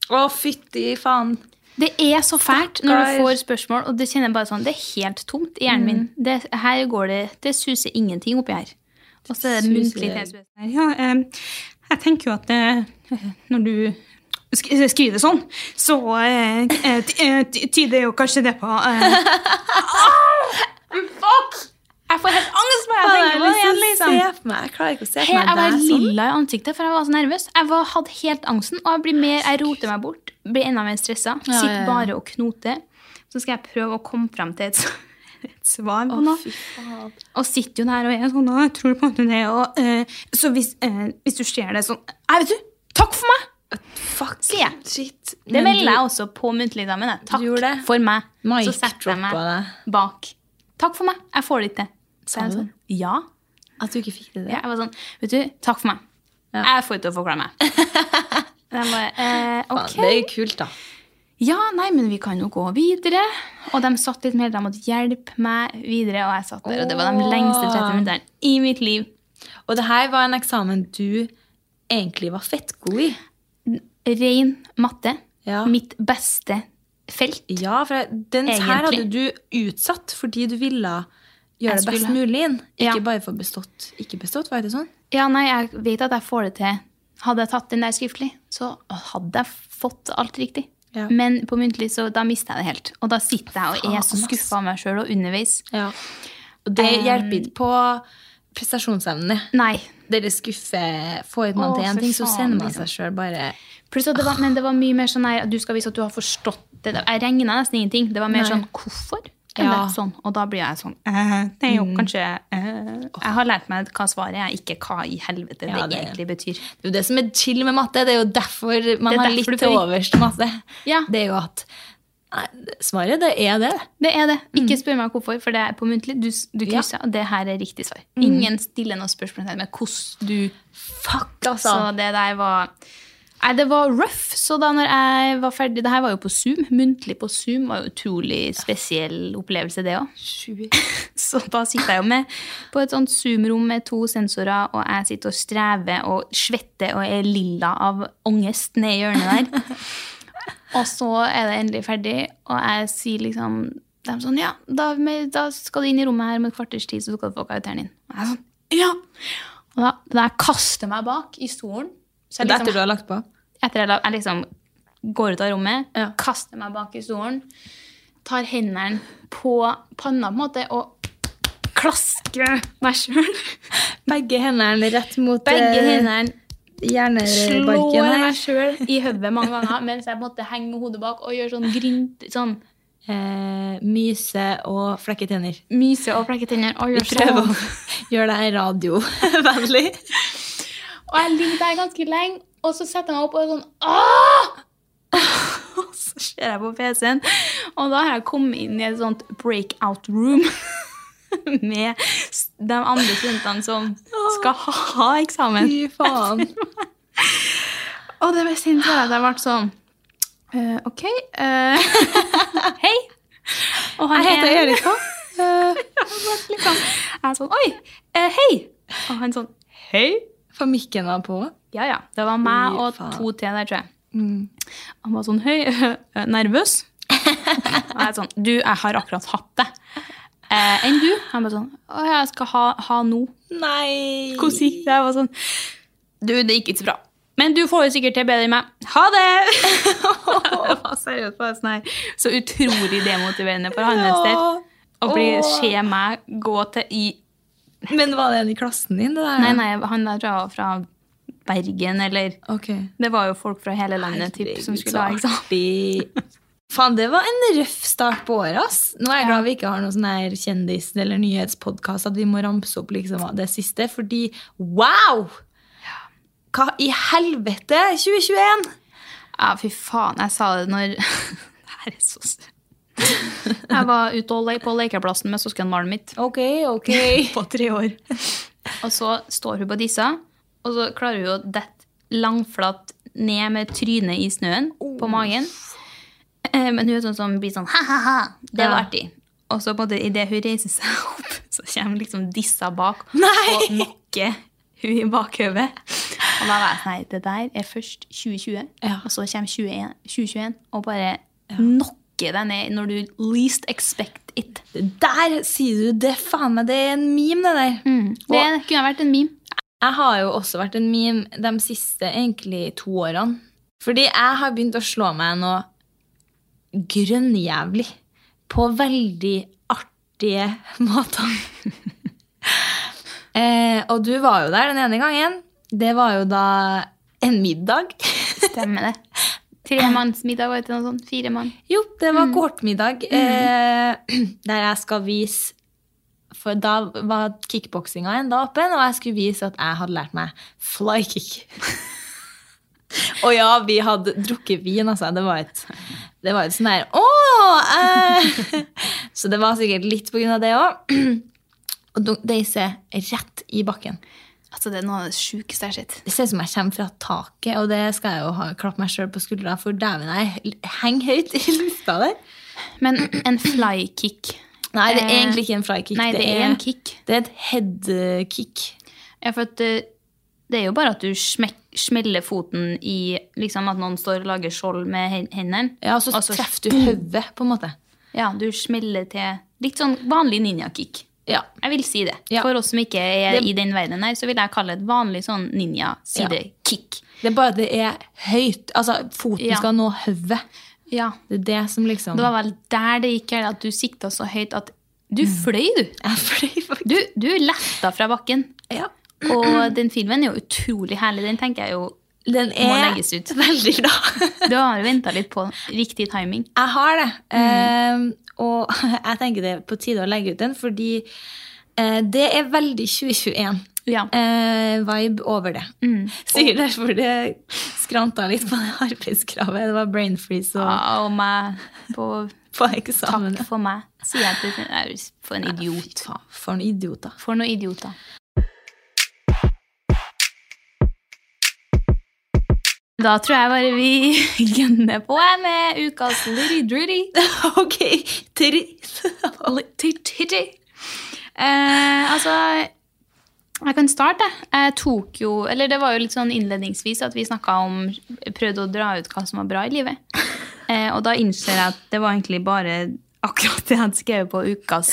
S1: Å, fytti faen.
S2: Det er så fælt når du
S1: Stakkar.
S2: får spørsmål, og det kjenner jeg bare sånn, det er helt tomt i hjernen min. Det, her går det, det suser ingenting oppi her. Og så er det muntlig TSB. Ja, eh, jeg tenker jo at eh, når du skriver sånn, så eh, tyder jo kanskje det på eh, Fuck! Jeg får helt angst bare jeg tenker på det igjen, liksom.
S1: Se på meg. Jeg klarer ikke å se på
S2: Helt-
S1: meg.
S2: jeg var
S1: Det er sånn.
S2: lilla i ansiktet, for jeg var så nervøs. Jeg var, hadde helt angsten, og jeg blir mer, jeg roter meg bort. Blir enda mer stressa.
S1: ja,
S2: Sitter
S1: ja.
S2: bare og knoter. Så skal jeg prøve å komme fram til et, s- et svar på noe.
S1: sånn. fy faen.
S2: og sitter jo der og er sånn «Å, Jeg tror på en måte det, og eh, Så hvis, eh, hvis du ser det sånn Nei, vet du! Takk for meg!
S1: Fuck.
S2: Sier jeg.
S1: Shit.
S2: Det
S1: Men
S2: melder
S1: du-
S2: jeg også på muntlig eksamen. jeg.
S1: Du gjorde det?
S2: Takk for meg.
S1: Mic
S2: Så setter jeg meg
S1: droppa
S2: bak. Takk for meg. Jeg får det ikke til. Så jeg er
S1: du
S2: sånn, ja.
S1: At du ikke fikk det
S2: Ja, jeg var sånn, vet du, takk for meg. Jeg får ikke å forklare meg. Jeg bare, eh,
S1: Faen,
S2: ok.
S1: Det er jo kult, da.
S2: Ja, nei, men vi kan jo gå videre. Og de satt litt mer, de måtte hjelpe meg videre, og jeg satt der, og det var de lengste 30 minutterne i mitt liv.
S1: Og det her var en eksamen du egentlig var fettgod i.
S2: Ren matte,
S1: Ja.
S2: mitt beste felt.
S1: Ja, for jeg- den her
S2: Egentlig.
S1: hadde du utsatt fordi du ville
S2: Jeg
S1: gjøre det best
S2: skulle-
S1: mulig inn.
S2: Ja.
S1: Ikke bare for bestått. Ikke bestått, var det sånn?
S2: Ja, nei, jeg vet at jeg får det til. Hadde jeg tatt den der skriftlig, så hadde jeg fått alt riktig.
S1: Ja.
S2: Men på muntlig, så da mister jeg det helt. Og da sitter jeg og er så
S1: Faen, ass.
S2: skuffa av meg sjøl, og underveis
S1: Ja. Og det hjelper ikke på prestasjonsevnene.
S2: Nei.
S1: Dere skuffer Får man
S2: Å,
S1: til én
S2: for
S1: ting, så
S2: faen,
S1: sender man
S2: liksom.
S1: seg sjøl bare
S2: Pluss at det var, men det var mye mer sånn her, at du skal vise at du har forstått det. Jeg regna nesten ingenting. Det var mer sånn hvorfor? er det
S1: Ja.
S2: Sånn, og da blir jeg sånn eh, Det er jo kanskje eh, Jeg har lært meg hva svaret er, ikke hva i helvete
S1: Ja,
S2: det
S1: det-
S2: egentlig betyr.
S1: Det er jo det som er chill med matte. Det er jo derfor man
S2: Det er
S1: har
S2: derfor du
S1: litt til
S2: får-
S1: overs til matte.
S2: Ja.
S1: Det er jo at nei, Svaret, det er det.
S2: Det er det. Ikke spør meg hvorfor, for det er på muntlig. Du, du krysser, og det her er riktig svar. Ingen stiller noe spørsmål med hvordan du
S1: Fuck,
S2: Så
S1: altså.
S2: det der var Nei, det var rough. Så da når jeg var ferdig Det her var jo på Zoom. Muntlig på Zoom var jo utrolig spesiell opplevelse, det òg. Så da sitter jeg jo med på et sånt Zoom-rom med to sensorer, og jeg sitter og strever og svetter og er lilla av angst nedi hjørnet der. Og så er det endelig ferdig, og jeg sier liksom de er sånn, ja, da, med, da skal du inn i rommet her om et kvarters tid, så skal du få karakteren din. Og jeg er sånn, ja. Og da, da jeg kaster meg bak i stolen så jeg
S1: Det er etter
S2: liksom,
S1: du har lagt på.
S2: etter jeg, la- jeg liksom går ut av rommet, kaster meg bak i stolen, tar hendene på panna på en måte, og klaske meg sjøl.
S1: Begge hendene rett mot
S2: Begge
S1: eh,
S2: hendene slår
S1: hjernebarken.
S2: meg
S1: her.
S2: sjøl i hodet mange ganger mens jeg måtte henge med hodet bak og gjøre sånn grynt, sånn
S1: Eh, myse og flekketenner.
S2: myse og flekke tenner. Og
S1: Vi
S2: gjøre
S1: prøver
S2: sånn.
S1: å gjøre deg radiovennlig.
S2: Og jeg ligger der ganske lenge, og så setter jeg meg opp og er sånn Åh! Og så ser jeg på PC-en, og da har jeg kommet inn i et sånt breakout room med s- de andre studentene som skal ha eksamen.
S1: Fy faen.
S2: Og det mest sinte var at jeg ble sånn «Eh, OK eh, Hei. Og han
S1: Jeg heter
S2: ene-
S1: Erika.
S2: Jeg ble liksom- jeg er sånn Oi. eh, hei. Og han sånn Hei.
S1: Får mikken av på?
S2: Ja, ja. Det var meg
S1: Fy
S2: og
S1: faen. Mm.
S2: to til der, tror jeg. Han var sånn høy, øh, nervøs. Og jeg sånn Du, jeg har akkurat hatt det. Eh, enn du? Han bare sånn Å, jeg skal ha, ha nå.
S1: Nei.
S2: Hvordan gikk det? Jeg var sånn Du, det gikk ikke så bra. Men du får jo sikkert til bedre enn meg. Ha det! det var seriøst bare sånn her. Så utrolig demotiverende for han hans del.
S1: Ja.
S2: Å bli,
S1: Åh.
S2: se meg gå til i
S1: Men var det en i klassen din, det der?
S2: Nei, nei, han der tror jeg var fra Bergen, eller
S1: Ok.
S2: Det var jo folk fra hele landet typ, som
S1: Herregud,
S2: skulle
S1: så
S2: ha eksamen.
S1: artig. Faen, det var en røff start på året, ass. Nå er jeg glad vi ikke har noen sånn her kjendis- eller nyhetspodkast at vi må ramse opp liksom av det siste, fordi wow! Hva i helvete? 2021!
S2: Ja, fy faen, jeg sa det når Det her er så søtt. Jeg var ute og le på lekeplassen med søskenbarnet mitt
S1: Ok, ok.
S2: på tre år. Og så står hun på dissa, og så klarer hun å dette langflatt ned med trynet i snøen på magen. Eh, Men hun er sånn som blir sånn ha-ha-ha. Det var
S1: Ja.
S2: artig. Og så på en måte, i det hun reiser seg opp, så kommer liksom dissa bak
S1: Nei!
S2: og nakker hun i bakhodet. Og da var jeg sånn Nei, det der er først 2020,
S1: Ja.
S2: og så kommer 21 2021 og bare knocker deg ned når du least expect it.
S1: Der sier du det, faen meg, det er en meme, det der.
S2: Det kunne ha vært en meme.
S1: Jeg har jo også vært en meme de siste egentlig to årene. Fordi jeg har begynt å slå meg noe grønnjævlig på veldig artige måter. eh, og du var jo der den ene gangen. Det var jo da en middag.
S2: Stemmer det. Tremannsmiddag var det noe sånt. Fire mann.
S1: jo, det var kohortmiddag eh, der jeg skal vise For da var kickboksinga enda åpen, og jeg skulle vise at jeg hadde lært meg fly kick. Og ja, vi hadde drukket vin, altså. Det var et, det var et sånn her Åh! Eh. Så det var sikkert litt på grunn av det òg. Og dunk- deise rett i bakken.
S2: Altså, det er noe av det sjukeste jeg har sett.
S1: Det ser ut som jeg kommer fra taket, og det skal jeg jo ha, klappe meg sjøl på skuldra, for dæven, jeg henger høyt i lufta der.
S2: Men en flykick
S1: Nei, det er
S2: Eh,
S1: egentlig ikke en flykick.
S2: Nei, det er en kick.
S1: Det er et eh, headkick.
S2: Ja, for at eh, det er jo bare at du smek, smeller foten i Liksom at noen står og lager skjold med hen- hendene.
S1: Ja, og så
S2: og så
S1: treffer du hodet, på en måte.
S2: Ja, du smeller til Litt sånn vanlig ninjakick.
S1: Ja.
S2: Jeg vil si det.
S1: Ja.
S2: For oss som ikke er
S1: Det-
S2: i den verdenen her, så vil jeg kalle det et vanlig sånn ninja-sidekick.
S1: Det er bare at det er høyt. Altså, foten
S2: Ja.
S1: skal nå hodet.
S2: Ja.
S1: Det er det som liksom
S2: Det var vel der det gikk, eller at du sikta så høyt at Du fløy, du!
S1: Jeg fløy faktisk.
S2: Du, du letta fra bakken.
S1: Ja.
S2: Og den filmen er jo utrolig herlig. Den tenker jeg jo
S1: Den
S2: må
S1: er
S2: legges ut.
S1: veldig bra.
S2: Du har venta litt på riktig timing.
S1: Jeg har det. Eh, og jeg tenker det er på tide å legge ut den, fordi eh, det er veldig 2021.
S2: Ja.
S1: Eh, vibe over det. Sikkert derfor det skranta litt på det arbeidskravet. Det var brain freeze og
S2: Ja, Og meg på
S1: på eksamen.
S2: Takk for meg, sier jeg til jeg er For en idiot.
S1: For en idiot, da.
S2: For noen idioter. Da tror jeg bare vi gønner på jeg, med ukas Litty Dritty.
S1: ok, tiri.
S2: Litty Dritty. Eh, altså Jeg kan starte. jeg. Jeg tok jo Eller det var jo litt sånn innledningsvis at vi snakka om Prøvde å dra ut hva som var bra i livet. Eh, og da innser jeg at det var egentlig bare akkurat det jeg hadde skrevet på ukas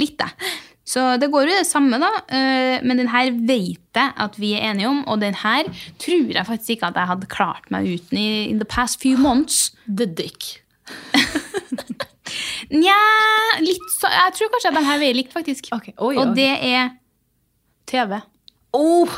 S2: litt. jeg. Så det går jo det samme, da. Eh, men den her vet jeg at vi er enige om. Og den her tror jeg faktisk ikke at jeg hadde klart meg uten i in the past few months.
S1: The dick.
S2: Nja, litt så, jeg tror kanskje at de her veier likt, faktisk.
S1: Ok, oi,
S2: og
S1: ok.
S2: det er TV.
S1: Oh,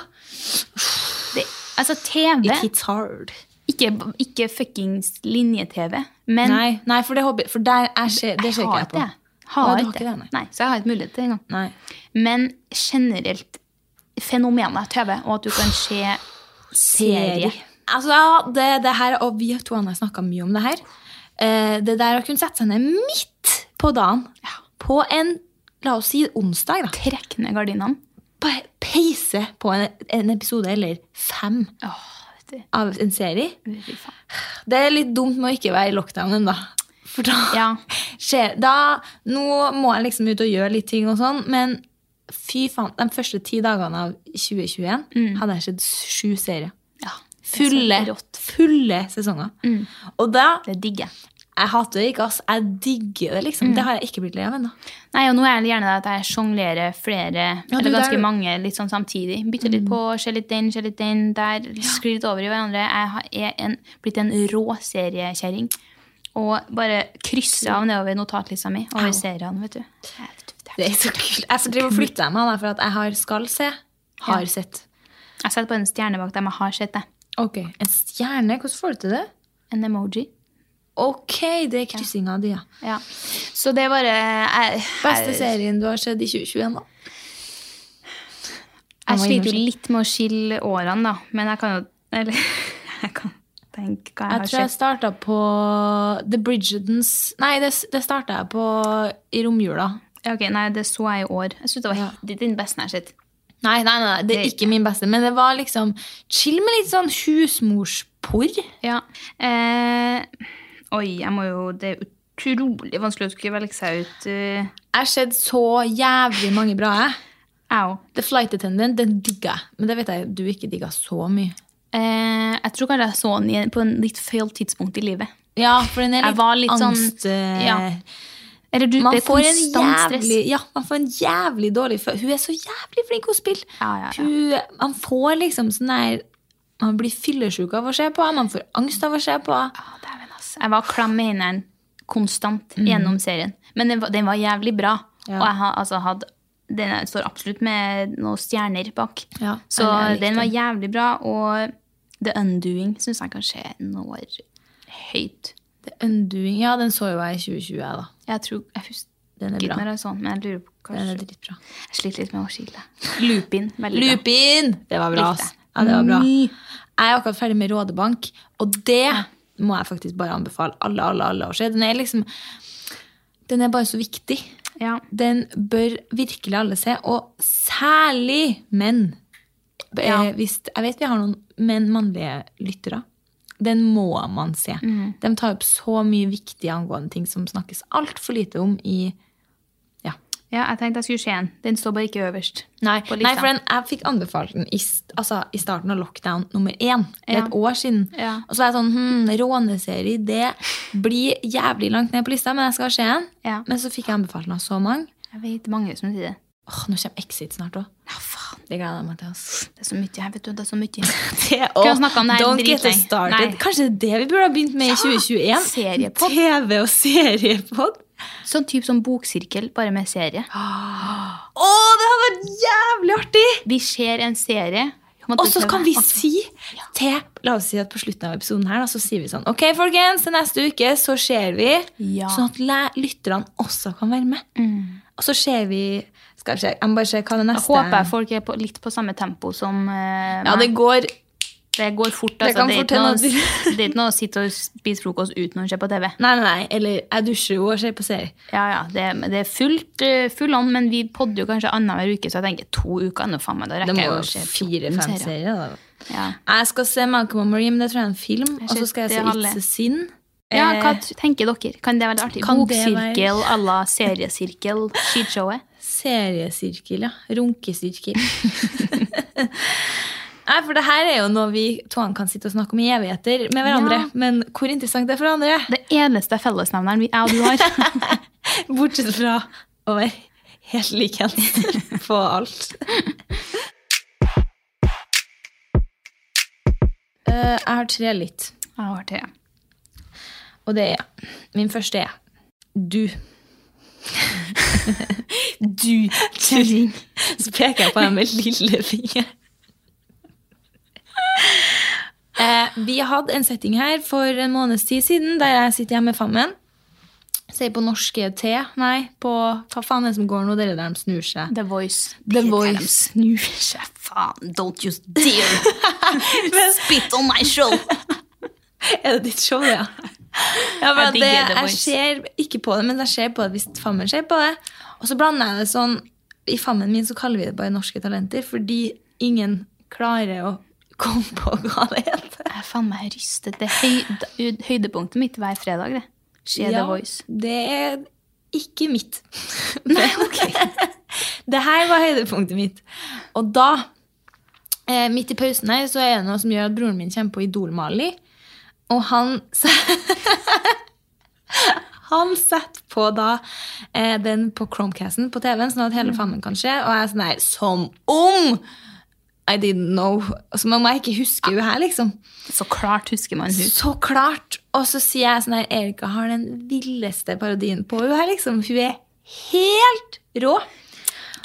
S2: Det, altså TV,
S1: it hits hard.
S2: ikke, ikke fuckings linje-TV, men
S1: Nei, nei, for det, håper- for der er, skje- det ser ikke
S2: jeg har
S1: jeg på.
S2: ikke det. Har
S1: Nei, du har
S2: ikke
S1: ikke det,
S2: Nei.
S1: nei.
S2: så jeg har ikke mulighet til det engang.
S1: Nei.
S2: Men generelt fenomenet TV, og at du kan se serie.
S1: Altså, ja, det, det her, og vi to har snakka mye om det her. Eh, det der å kunne sette seg ned midt på dagen, på en la oss si onsdag, da.
S2: Trekk ned gardinene.
S1: Bare peise på en, en episode eller fem
S2: Åh, vet du.
S1: av en serie.
S2: Fy faen.
S1: Det er litt dumt med å ikke være i lockdown ennå. For da
S2: Ja.
S1: skjer da, Nå må jeg liksom ut og gjøre litt ting og sånn, men fy faen, de første ti dagene av 2021 hadde jeg sett sju serier.
S2: Ja.
S1: Fulle,
S2: Mm. Det er så rått. Mm.
S1: fulle sesonger. Og da
S2: Det digger jeg.
S1: Jeg hater det ikke, ass. Jeg digger det, liksom.
S2: Mm.
S1: Det har jeg ikke blitt lei av ennå.
S2: Nei, og nå er det gjerne det at jeg sjonglerer flere,
S1: Ja, du,
S2: eller ganske
S1: der- Mm.
S2: mange, litt sånn samtidig. Bytter litt på, ser litt den, ser litt den, der. Sklir litt over i hverandre. Jeg har- er en, blitt en rå seriekjerring. Og bare krysser av nedover notatlista mi over seriene, vet du.
S1: Det er så kult. Jeg driver og flytter meg, da, for at jeg har skal se. Har
S2: Ja.
S1: sett.
S2: Jeg setter på en stjerne bak dem jeg har sett det.
S1: Ok, En stjerne? Hvordan får du til det?
S2: En emoji.
S1: Ok, det er kryssinga di, ja.
S2: Ja. Så det er bare jeg,
S1: Beste
S2: jeg,
S1: serien du har sett i 2021, da? Jeg
S2: Jeg
S1: må
S2: sliter jo
S1: innrømme-
S2: litt med å skille årene, da. Men jeg kan jo Eller jeg kan tenke hva jeg,
S1: Jeg tror
S2: har
S1: jeg
S2: sett.
S1: starta på The Bridgertons Nei, det, det starta jeg på i romjula.
S2: Ja, Ok, Nei, det så jeg i år. Jeg synes det var
S1: Ja.
S2: det er den beste jeg har sett.
S1: Nei, nei, nei, det er ikke min beste, men det var liksom chill med litt sånn husmorsporr.
S2: Ja. Eh, oi, jeg må jo Det er utrolig vanskelig å skulle velge seg ut eh,
S1: Jeg har sett så jævlig mange bra, jeg.
S2: Au.
S1: The Flight Attendant, den digger jeg. Men det vet jeg du ikke digger så mye.
S2: Eh, jeg tror kanskje jeg så den i- på en litt feil tidspunkt i livet.
S1: Ja, for den er
S2: Jeg
S1: litt,
S2: var litt sånn-
S1: angst... eh,
S2: ja. Eller du,
S1: Man
S2: det er
S1: får, en
S2: konstant stress.
S1: jævlig, ja, man får en jævlig dårlig følelse. Hun er så jævlig flink til å spille.
S2: Ja, ja, ja.
S1: Hun, man får liksom sånn der Man blir fyllesyk av å se på henne, man får angst av å se på henne.
S2: Ja, Dæven, ass. Jeg var klam i hendene konstant gjennom serien. Men den var, den var jævlig bra.
S1: Mm. Ja.
S2: Og jeg har, altså, hadde, den er- står absolutt med noen stjerner bak.
S1: Ja,
S2: Så
S1: jeg- jeg likte
S2: den var jævlig bra. Og The Undoing syns jeg kanskje når høyt.
S1: The Undoing. Ja, den så jo jeg i 2020, jeg, da.
S2: Jeg tror, jeg husker
S1: Den er
S2: ikke når
S1: bra.
S2: jeg så den, men jeg lurer på
S1: Den er
S2: kanskje
S1: dritbra.
S2: Jeg sliter litt med å skille. Lupin. Veldig bra.
S1: Lupin! Det var bra.
S2: Likte Mm.
S1: ass. Ja, det var bra. Jeg er akkurat ferdig med Rådebank, og det må jeg faktisk bare anbefale alle alle, alle å se. Den er liksom Den er bare så viktig.
S2: Ja.
S1: Den bør virkelig alle se, og særlig menn. Eh,
S2: Ja.
S1: Hvis, jeg vet vi har noen menn, mannlige lyttere. Den må man se.
S2: Mhm.
S1: De tar opp så mye viktige angående ting som snakkes altfor lite om i ja,
S2: ja, jeg tenkte jeg skulle se den. Den står bare ikke øverst.
S1: Nei,
S2: på
S1: nei
S2: lista.
S1: for den, jeg fikk anbefalt den i, s- altså, i starten av lockdown nummer én. Det er et år siden.
S2: Ja.
S1: Og så var jeg sånn hm, Råneserie, det blir jævlig langt ned på lista, men jeg skal se den.
S2: Ja.
S1: Men så fikk jeg anbefalt den av så mange.
S2: Jeg vet mange som sier det.
S1: Åh, Nå kommer Exit snart òg.
S2: Ja, faen.
S1: Det gleder jeg meg til. ass.
S2: Det er så mye her, vet du. Det er så mye.
S1: Åh,
S2: Kunne snakket om det her
S1: Don't get us
S2: dritlenge.
S1: started.
S2: Nei.
S1: Kanskje det er det vi burde ha begynt med i 2021?
S2: seriepod.
S1: TV og seriepod.
S2: Sånn type som boksirkel, bare med serie.
S1: Å, det hadde vært jævlig artig!
S2: Vi ser en serie.
S1: Og så kan vi si til La oss si at på slutten av episoden her da, så sier vi sånn Ok, folkens, til neste uke så ser vi.
S2: Ja. Mm.
S1: Sånn at læ- lytterne også kan være med. Og så ser vi Skal vi se, jeg må bare se hva det
S2: Jeg
S1: neste
S2: håper jeg folk er på, litt på samme tempo som eh,
S1: Ja, det
S2: meg.
S1: går
S2: det går fort.
S1: det
S2: Altså.
S1: kan
S2: Det,
S1: fort hende at
S2: er
S1: vi-
S2: ikke noe, det er ikke noe å sitte og spise frokost uten å se på TV.
S1: Nei, nei, nei. Eller jeg dusjer jo og ser på serie.
S2: Ja, ja, Det, men det er fullt, eh, full on, men vi podder jo kanskje annenhver uke, så jeg tenker to uker nå, faen meg. Da
S1: Det
S2: rekker
S1: må
S2: jeg
S1: jo
S2: jo å se
S1: fire-fem
S2: serier.
S1: serier. da.
S2: Ja.
S1: Jeg skal se Malcolm og Marie, men det tror jeg er en film. Og
S2: ser
S1: så skal jeg
S2: det
S1: se
S2: halve.
S1: It's a Sin.
S2: Ja,
S1: Eh,
S2: hva t- tenker dere? Kan det være artig?
S1: Kan det være-
S2: Boksirkel à la seriesirkel, skishowet?
S1: Seriesirkel, ja. Runkesirkel. Nei, for det her er jo noe vi toene kan sitte og snakke om i evigheter med hverandre.
S2: Ja.
S1: Men hvor interessant det er for andre,
S2: Det eneste fellesnevneren vi, jeg og du har.
S1: bortsett fra å være helt likens på alt. Eh, jeg har tre litt,
S2: Jeg har til, ja.
S1: og det er Min første er du.
S2: Du kjerring.
S1: Så peker jeg på deg med lillefinger. Eh, vi hadde en setting her for en måneds tid siden, der jeg sitter hjemme med fammen. Sier på norske te, nei, på hva faen er det som går nå, dere der de snur seg.
S2: The Voice.
S1: The
S2: Det er der De
S1: Voice.
S2: snur seg, faen. Don't you dare spit on my show.
S1: Er det ditt show, ja? ja for
S2: Jeg
S1: at det,
S2: digger The
S1: jeg
S2: Voice.
S1: ser ikke på det, men jeg ser på det hvis fammen ser på det. Og så blander jeg det sånn I fammen min så kaller vi det bare Norske Talenter, fordi ingen klarer å komme på hva det heter.
S2: Jeg er faen meg rystet. Det er høy, høydepunktet mitt hver fredag, det. Skjer The Voice.
S1: Det er ikke mitt. Nei, ok. det her var høydepunktet mitt. Og da, eh, midt i pausen her, så er det noe som gjør at broren min kommer på Idol-Mali. Og han s- Han setter på da eh, den på Chromecasten på TV-en, sånn at hele fammen kan se. Og jeg er sånn her Som om! I didn't know. Som om jeg ikke husker hun her, liksom.
S2: Så klart husker man hun.
S1: Så klart! Og så sier jeg sånn her Erika har den villeste parodien på henne her, liksom. Hun er helt rå.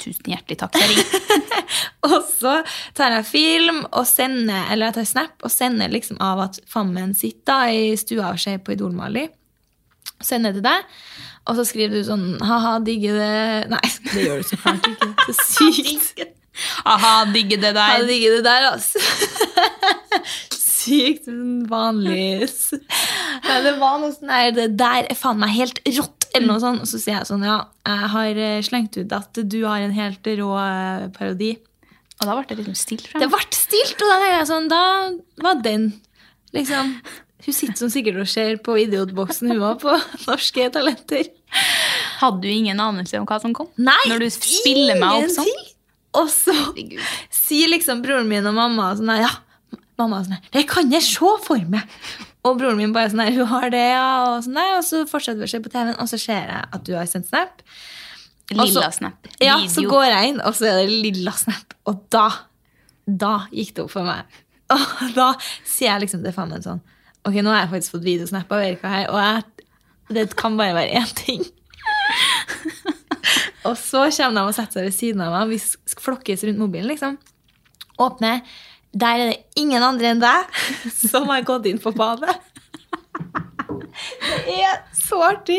S2: Tusen hjertelig takk, kjerring.
S1: Og så tar jeg film og sender, eller jeg tar snap og sender liksom av at fammen sitter da i stua og ser på Idol-Mali. Sender til deg. Og så skriver du sånn ha-ha, digger det Nei, det gjør du så klart ikke. Så sykt.
S2: Aha, digger det
S1: Ha
S2: der.
S1: digger det der, altså. Sykt sånn vanlig s- Nei, det var noe sånn der Det der er faen meg helt rått, eller noe sånt. Og så sier jeg sånn, ja, jeg har eh, slengt ut at du har en helt rå eh, parodi.
S2: Og da ble det liksom stille frem.
S1: Det ble stilt, og da tenker jeg sånn, da var den liksom Hun sitter som sikkert og ser på Idiotboksen, hun òg, på Norske Talenter.
S2: Hadde du ingen anelse om hva som kom?
S1: Nei,
S2: Når du spiller meg opp sånn?
S1: ingenting. Og så sier liksom broren min og mamma sånn her, ja, mamma er sånn her, det kan jeg se for meg. Og broren min bare sånn her, hun har det, ja, og sånn der, og så fortsetter vi å se på TV-en, og så ser jeg at du har sendt snap.
S2: Lilla
S1: Altså,
S2: snap.
S1: Ja,
S2: Video.
S1: så går jeg inn, og så er det lilla snap, og da, da gikk det opp for meg. Og da sier jeg liksom til fammen sånn, ok, nå har jeg faktisk fått videosnap av Erika her, og jeg, det kan bare være én ting. Og så kommer de og setter seg ved siden av meg. Vi sk- flokkes rundt mobilen, liksom. Åpner. Der er det ingen andre enn deg som har gått inn på badet. Det er så artig!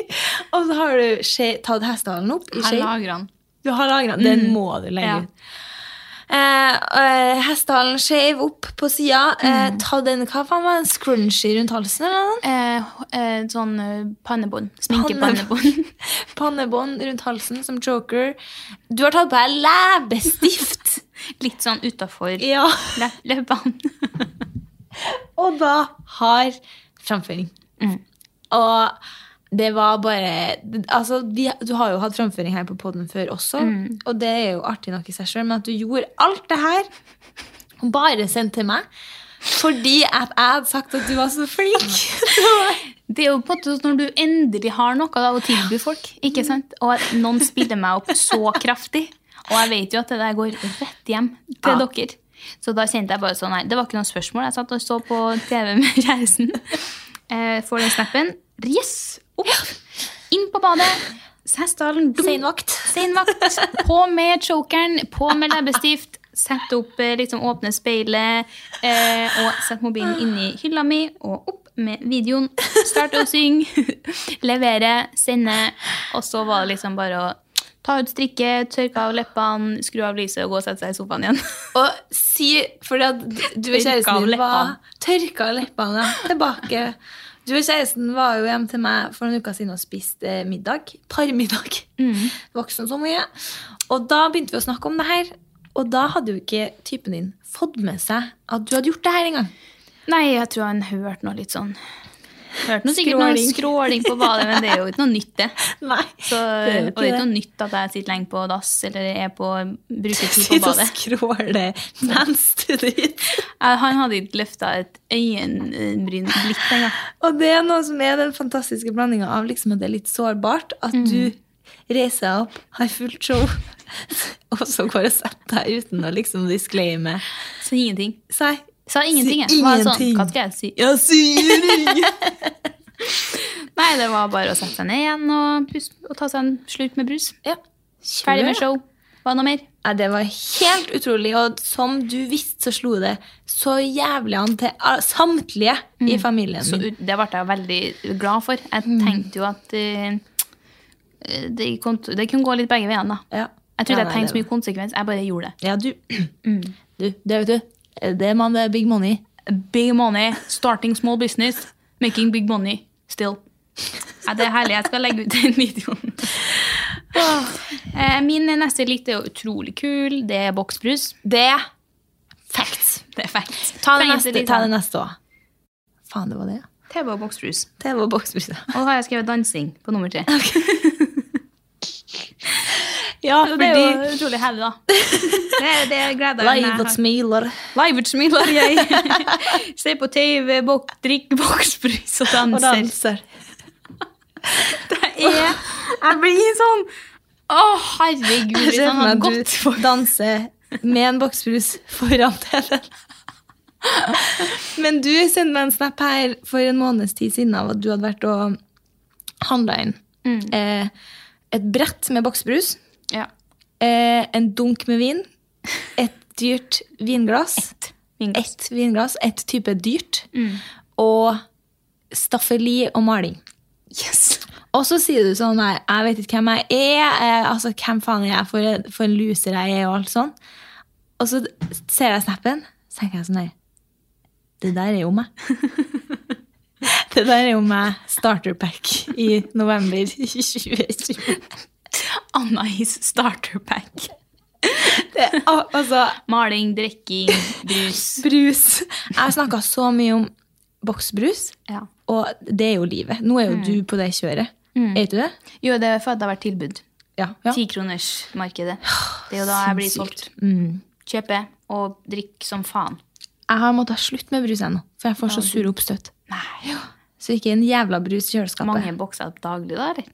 S1: Og så har du skje, tatt hestehalen opp i
S2: Her
S1: shape.
S2: lager han.
S1: Du har lagra den. Den må du
S2: Ja.
S1: legge ut. Mm. Eh, eh, hestehalen skeiv opp på sida. Eh, ta den, hva faen var det, en scrunchie rundt halsen? eller noe?
S2: Eh, eh, sånn eh, pannebånd. Sminkepannebånd.
S1: Pannebånd rundt halsen som joker. Du har tatt på deg leppestift!
S2: Litt sånn utafor
S1: ja.
S2: leppene.
S1: Og da har framføring. Og det var bare altså, vi, Du har jo hatt framføring her på poden før også, og det er jo artig nok i seg sjøl, men at du gjorde alt det her og bare sendte til meg fordi at jeg hadde sagt at du var så flink.
S2: Det er jo på en måte sånn når du endelig har noe da, å tilby folk, ikke sant? og at noen spiller meg opp så kraftig, og jeg vet jo at det der går rett hjem til
S1: Ja.
S2: dere. Så da kjente jeg bare sånn, nei, det var ikke noe spørsmål. Jeg satt og så på TV med kjæresten. Eh, får den snappen. Yes! Opp! Inn på badet. Hestehalen. dum.
S1: Seinvakt.
S2: Seinvakt. På med chokeren, på med leppestift. Sett opp, eh, liksom åpne speilet, eh, og sett mobilen inni hylla mi, og opp med videoen. Start å synge, levere, sende. Og så var det liksom bare å ta ut strikket, tørke av leppene, skru av lyset og gå og sette seg i sofaen igjen.
S1: Og si Fordi at du og
S2: Tørka av
S1: kjæresten din var
S2: leppene.
S1: Tørka av leppene, ja. Tilbake. Du og kjæresten var jo hjemme til meg for noen uker siden og spiste eh, middag. Parmiddag.
S2: Mm.
S1: Voksen som hun er. Og da begynte vi å snakke om det her. Og da hadde jo ikke typen din fått med seg at du hadde gjort det her engang.
S2: Nei, jeg tror han hørte noe litt sånn Hørte noe sikkert noe
S1: Skråling.
S2: skråling på badet, men det er jo ikke noe nytt, det.
S1: Nei,
S2: Så,
S1: det er jo
S2: og
S1: ikke
S2: det er ikke
S1: det.
S2: noe nytt at jeg sitter lenge på dass eller er på, bruker tid på
S1: Sitter og
S2: badet.
S1: skråler mens du driter.
S2: Jeg- Han hadde ikke løfta et øyenbryn litt engang.
S1: Og det er noe som er den fantastiske blandinga av liksom at det er litt sårbart. At
S2: Mm.
S1: du reiser deg opp, har fullt show, og så går og setter deg uten å liksom disclaime
S2: Sa ingenting.
S1: seg.
S2: Sa ingenting,
S1: Si
S2: jeg. Var sånn,
S1: ingenting.
S2: hva skal jeg si?
S1: Jeg sier ingen!
S2: Nei, det var bare å sette seg ned igjen og, pus- og ta seg en slurk med brus.
S1: ja.
S2: Ferdig med show. Hva noe mer?
S1: Ja, det var helt utrolig, og som du visste, så slo det så jævlig an til a- samtlige
S2: Mm.
S1: i familien
S2: Så
S1: min.
S2: ut- det ble jeg veldig glad for.
S1: Mm.
S2: Jeg tenkte jo at eh, det, kom, til- det kunne gå litt begge veiene. da.
S1: Ja.
S2: Jeg trodde
S1: Ja,
S2: jeg
S1: nei,
S2: tenkte så
S1: det
S2: mye Mm. konsekvens. Jeg bare gjorde det.
S1: Ja, du. du, det vet du. Det man det er big money.
S2: Big money, starting small business, making big money still. Ja, det er herlig. Jeg skal legge ut den videoen. Eh, Min neste likt er jo utrolig kul. Det er boksbrus.
S1: Det er facts.
S2: Det er facts.
S1: Ta det
S2: Trengs
S1: neste,
S2: litt
S1: ta
S2: sånn.
S1: det neste også. Faen, det var det. ja.
S2: TV og boksbrus.
S1: Det var boksbrisa.
S2: Og da har jeg skrevet dansing på nummer tre.
S1: Ja,
S2: Det er jo utrolig herlig, da. Det, det gleder jeg
S1: Live og smiler.
S2: Live smiler jeg. Ser på TV, bok, drikker boksbrus og danser.
S1: Og danser.
S2: Jeg, jeg blir sånn Å,
S1: Jeg
S2: herregud. Hvis
S1: ser
S2: han
S1: for
S2: hadde
S1: meg
S2: gått
S1: at
S2: for
S1: du danser med en boksbrus foran TV-en. Men du sendte meg en snap her for en måneds tid siden av at du hadde vært og handla inn
S2: Mm.
S1: eh, et brett med boksbrus,
S2: ja.
S1: eh, en dunk med vin, et dyrt vinglass,
S2: vinglass.
S1: ett vinglass, ett type dyrt,
S2: Mm.
S1: og staffeli og maling.
S2: Yes.
S1: Og så sier du sånn Nei, jeg vet ikke hvem jeg er. Eh, altså, Hvem faen er jeg for, for en loser jeg er, og alt sånn. Og så ser jeg snappen, så tenker jeg sånn Nei, det der er jo meg. det der er jo meg starter pack i november 2020.
S2: Anna is starter pack.
S1: Det, al- altså,
S2: Maling, drikking, brus.
S1: brus. Jeg har snakka så mye om boksbrus,
S2: Ja.
S1: og det er jo livet. Nå
S2: Mm.
S1: er jo du på det kjøret. Er ikke du det?
S2: Jo, det er for at det har vært tilbud.
S1: Ja. ja.
S2: Tikronersmarkedet. Det er jo da jeg blir solgt.
S1: Mm.
S2: Kjøpe og drikke som faen.
S1: Jeg har måttet slutte med brus ennå, for jeg får så sure oppstøt.
S2: Nei.
S1: Så ikke en jævla brus i kjøleskapet.
S2: Mange bokser daglig, da, eller?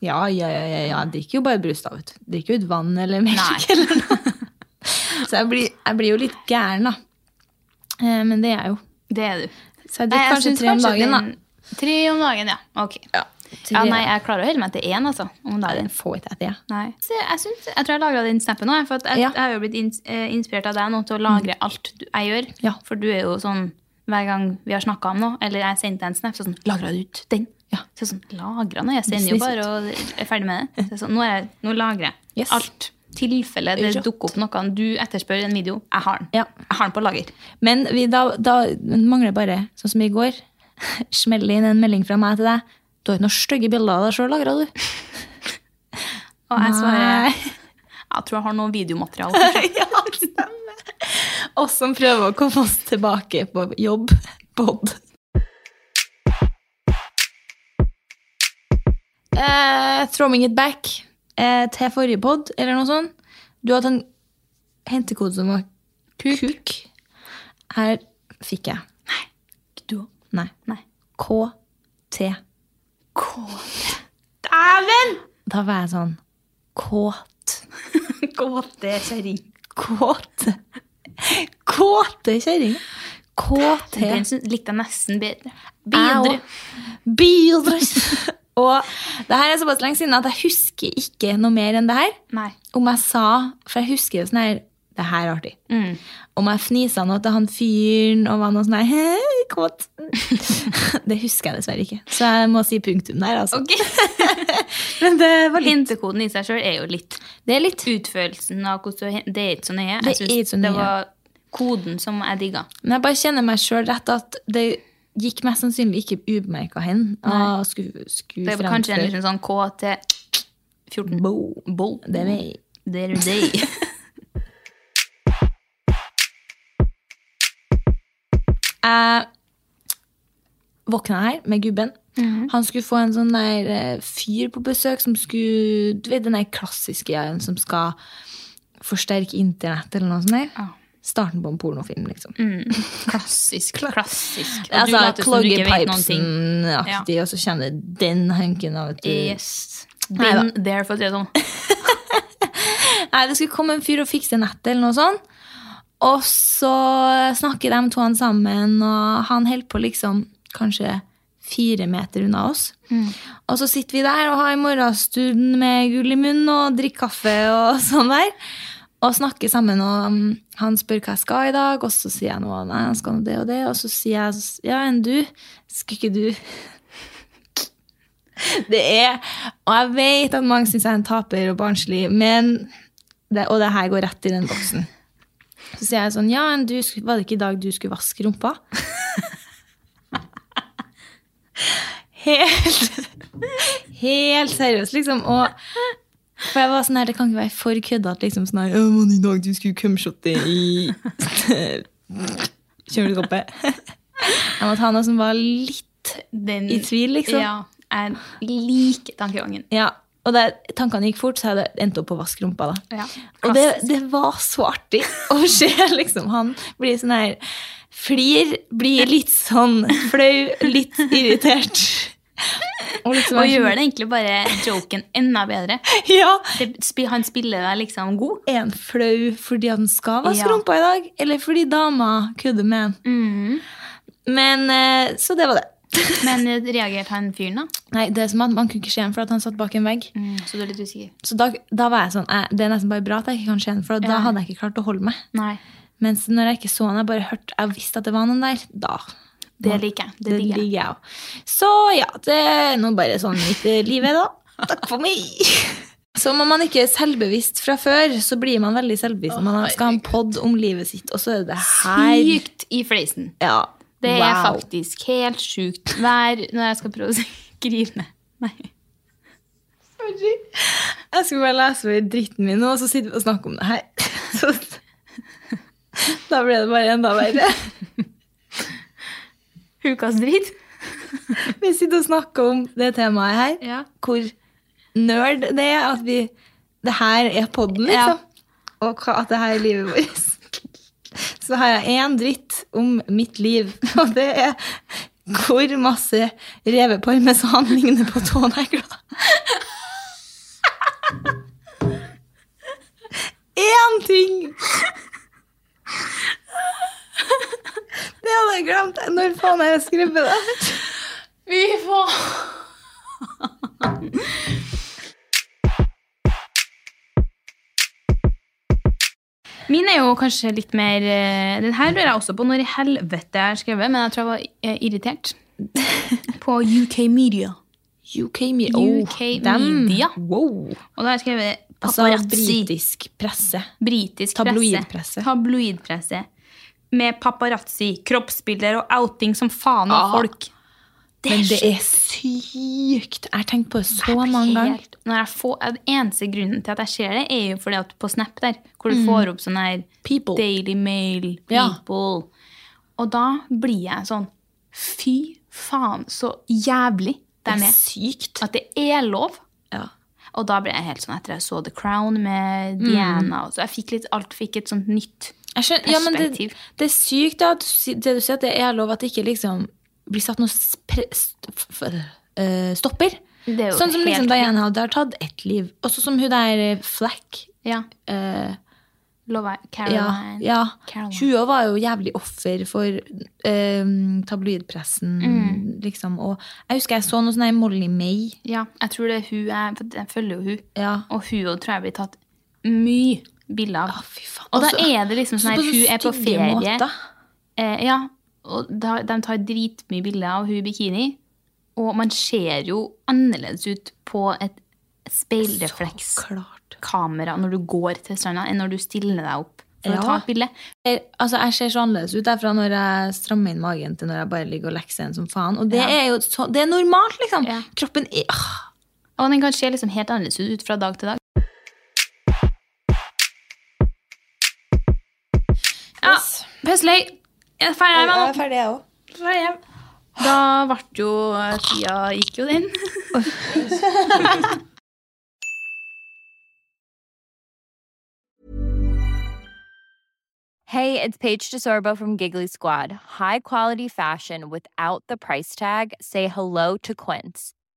S1: Ja, ja, ja, ja, ja. Jeg drikker jo bare brus, da. vet du. Jeg Drikker jo ut vann eller melk.
S2: Nei.
S1: Eller noe. Så jeg blir, jeg blir jo litt gæren, da. Eh, Men det er jeg jo.
S2: Det er du.
S1: Så jeg
S2: Nei,
S1: drikker
S2: jeg
S1: kanskje
S2: syns
S1: tre om
S2: kanskje
S1: dagen, da.
S2: den- Tre om dagen, ja. Ok. Ja,
S1: Tre.
S2: nei, jeg klarer å holde meg til én altså, om dagen.
S1: Den får ikke jeg til, jeg.
S2: Nei. Så jeg, syns- jeg tror jeg lagra den snappen òg. For at jeg,
S1: Ja. Mm.
S2: jeg har jo blitt ins eh, inspirert av deg nå til å lagre alt du, jeg gjør.
S1: Ja.
S2: For du er jo sånn hver gang vi har snakka om noe, eller jeg sendte deg en snap, så sånn Lagra du ut den?
S1: Ja.
S2: Så sånn, lagra nå? Jeg sender jo
S1: Business
S2: bare og er ferdig med det. Så sånn, nå, er jeg, nå lagrer jeg
S1: Yes.
S2: alt. tilfelle det
S1: Rått.
S2: dukker opp noe du etterspør en video. Jeg har den.
S1: Ja.
S2: Jeg har den på lager.
S1: Men vi, da, da mangler bare, sånn som i går, smell inn en melding fra meg til deg. Du har ikke noen stygge bilder av deg sjøl lagra, du.
S2: Og jeg svarer
S1: Nei.
S2: Jeg tror jeg har noe videomateriale. kanskje.
S1: ja, stemmer. Oss som prøver å komme oss tilbake på jobb. Bod. Eh, throwing it back eh, til forrige pod, eller noe sånt. Du hadde en hentekode som var kuk. Her fikk jeg.
S2: Du òg.
S1: Nei.
S2: Nei.
S1: KT.
S2: Kåte. Dæven!
S1: Da var jeg sånn kåt.
S2: Kåtekjerring.
S1: Kåt. Kåte kjerring. KT.
S2: Den syns- likte jeg nesten bedre.
S1: Bedre.
S2: Bedre.
S1: Bedre. og det her er såpass lenge siden at jeg husker ikke noe mer enn det her.
S2: Nei.
S1: Om jeg sa, for jeg husker jo sånn her, det her er artig.
S2: Mm.
S1: Om jeg fnisa noe til han fyren og var noe sånn her, hei, kåt. det husker jeg dessverre ikke. Så jeg må si punktum der, altså.
S2: Ok.
S1: Men det var litt.
S2: Hentekoden i seg sjøl er jo litt
S1: Det er litt.
S2: Utførelsen av hvordan du hen- Det er ikke så nøye.
S1: Det
S2: Jeg
S1: er ikke
S2: syns
S1: så
S2: det
S1: nøye.
S2: var koden som jeg digga.
S1: Men jeg bare kjenner meg sjøl rett at det gikk mest sannsynlig ikke ubemerka hen. Og skulle, skulle
S2: Det var kanskje en
S1: fremføre.
S2: liten sånn KT 14.
S1: Bo.
S2: Bo.
S1: Det er meg.
S2: Det er deg.
S1: Jeg våkna her med gubben.
S2: Mhm.
S1: Han skulle få en sånn der eh, fyr på besøk som skulle Du vet den der klassiske greien som skal forsterke internett eller noe sånt? Der.
S2: Ja. Mm.
S1: Starten på en pornofilm, liksom.
S2: Klassisk. Klassisk. Og du
S1: Altså
S2: later som du ikke vet noen ting.
S1: Cloggy-pipesen-aktig, og så kommer det den hunken av et
S2: Yes.
S1: Neida.
S2: Been there, for å si det sånn.
S1: Nei, det skulle komme en fyr og fikse nettet eller noe sånt. Og så snakker de to han sammen, og han holder på liksom kanskje fire meter unna oss. Og så sitter vi der og har morgenstund med gull i munnen og drikker kaffe og sånn der. Og snakker sammen, og mm, han spør hva jeg skal i dag, og så sier jeg noe. Nei, jeg skal nå det og det. Og så sier jeg ja, enn du? Skal ikke du? Det er Og jeg vet at mange syns jeg er en taper og barnslig, men det, Og det her går rett i den boksen. Så sier jeg sånn Ja, enn du, sk- var det ikke i dag du skulle vaske rumpa? Helt Helt seriøst, liksom. Og for jeg var sånn her, Det kan ikke være for køddete. Liksom, sånn her, «Å, men i dag du skulle cumshotte i kjøleskapet. Jeg måtte ha noe som var litt
S2: Den,
S1: I tvil, liksom.
S2: Ja. Jeg liker tankegangen.
S1: Ja, og da tankene gikk fort, så hadde jeg endt opp på vaskerumpa. da.
S2: Ja,
S1: og det, det var så artig å se. liksom. Han blir sånn her Flir, blir litt sånn flau, litt irritert. Og, liksom,
S2: Og sånn- gjør det egentlig bare joken enda bedre.
S1: Ja,
S2: Det, spi- han spiller deg liksom god.
S1: Er han flau fordi han skal vaske
S2: Ja.
S1: rumpa i dag, eller fordi dama kødder med han? Men, eh, Så det var det.
S2: Men reagerte han fyren, da?
S1: Nei, det er som at Man kunne ikke se han for at han satt bak en vegg.
S2: Så du er litt usikker?
S1: Så da, da var jeg sånn, eh, Det er nesten bare bra at jeg ikke kan se han, for da
S2: Ja.
S1: hadde jeg ikke klart å holde meg.
S2: Nei.
S1: Mens når jeg ikke så han, jeg bare hørte, jeg visste at det var noen der, da
S2: Det liker jeg. Det
S1: det
S2: digger jeg.
S1: ligger jeg òg. Så ja, det er nå bare sånn mitt eh, liv er, da. Takk for meg! Som om man ikke er selvbevisst fra før, så blir man veldig selvbevisst når man skal ha en pod om livet sitt, og så er det her.
S2: Sykt i fleisen.
S1: Ja.
S2: Det er
S1: wow.
S2: faktisk helt sjukt. Hver når jeg skal prøve å skrive ned Nei.
S1: Jeg skulle bare lese over dritten min nå, og så sitter vi og snakker om det her. Så, da ble det bare enda verre.
S2: Ukas dritt.
S1: Vi sitter og snakker om det temaet her,
S2: Ja.
S1: hvor nerd det er at vi Det her er podden, liksom. Og hva, at det her er livet vårt. Så har jeg én dritt om mitt liv, og det er hvor masse reveparmesan ligner på tånegler. Én ting! Det hadde jeg glemt. Når faen har jeg skrevet det?
S2: Fy faen! Min er jo kanskje litt mer eh, Den her lurer jeg også på når i helvete jeg har skrevet, men jeg tror jeg var eh, irritert. På UK Media.
S1: UK, me Oh,
S2: UK media.
S1: Wow.
S2: Og da har jeg skrevet
S1: Altså
S2: paparazzi.
S1: britisk presse.
S2: britisk
S1: Tabloidpresse.
S2: presse. Tabloidpresse. Med paparazzi, kroppsbilder og outing som faen av
S1: Ah.
S2: folk. Det
S1: Men
S2: er
S1: det
S2: så-
S1: er sykt. Jeg har tenkt på det så
S2: Jeg blir
S1: mange ganger.
S2: helt- Når jeg får, den eneste grunnen til at jeg ser det, er jo fordi at på Snap der, hvor du får opp sånn her
S1: Mm. People.
S2: Daily Mail,
S1: Ja.
S2: People. Og da blir jeg sånn Fy faen, så jævlig de
S1: Det
S2: er.
S1: er sykt.
S2: At det er lov.
S1: Ja. Mm.
S2: Og da ble jeg helt sånn etter jeg så The Crown med Diana. og Så jeg fikk litt, alt fikk et sånt nytt
S1: Jeg skjønner, ja, men det,
S2: Perspektiv.
S1: det er sykt da, at du si- det du sier, at det er lov at det ikke liksom blir satt noe spre, st, f, f, eh, stopper.
S2: Det er jo
S1: Sånn som
S2: helt
S1: liksom Diana hadde tatt ett liv. Også som hun der eh, Flack.
S2: Ja.
S1: eh,
S2: Love
S1: ja,
S2: Caroline.
S1: ja.
S2: Caroline.
S1: Hun også var jo jævlig offer for eh, tabloidpressen,
S2: Mm.
S1: liksom. Og jeg husker jeg så noe sånn her Molly May.
S2: Ja, jeg tror det er hun jeg, for jeg følger jo hun.
S1: Ja.
S2: Og hun også tror jeg blir tatt mye bilder av.
S1: fy faen.
S2: Og da
S1: Altså,
S2: er det liksom sånn
S1: på
S2: at hun er på
S1: stygge
S2: ferie.
S1: måter.
S2: Eh, ja, og da, De tar dritmye bilder av hun i bikini. Og man ser jo annerledes ut på et
S1: Så klart.
S2: speilreflekskamera når du går til stranda, enn når du stiller deg opp for
S1: Ja.
S2: å ta et bilde.
S1: Jeg, altså, jeg ser så annerledes ut derfra når jeg strammer inn magen til når jeg bare ligger og lekser en som faen. Og det er jo så, det er normalt, liksom.
S2: Ja.
S1: Kroppen er ah.
S2: Og den kan se liksom helt annerledes ut fra dag til dag. Ja, Pøsløy. Jeg er ferdig med nå.
S1: ferdig, jeg òg.
S2: Ferdig hjem. Da ble jo tida gikk jo den.
S3: Hey, it's Paige DeSorbo from Giggly Squad. High quality fashion without the price tag. Say hello to Quince.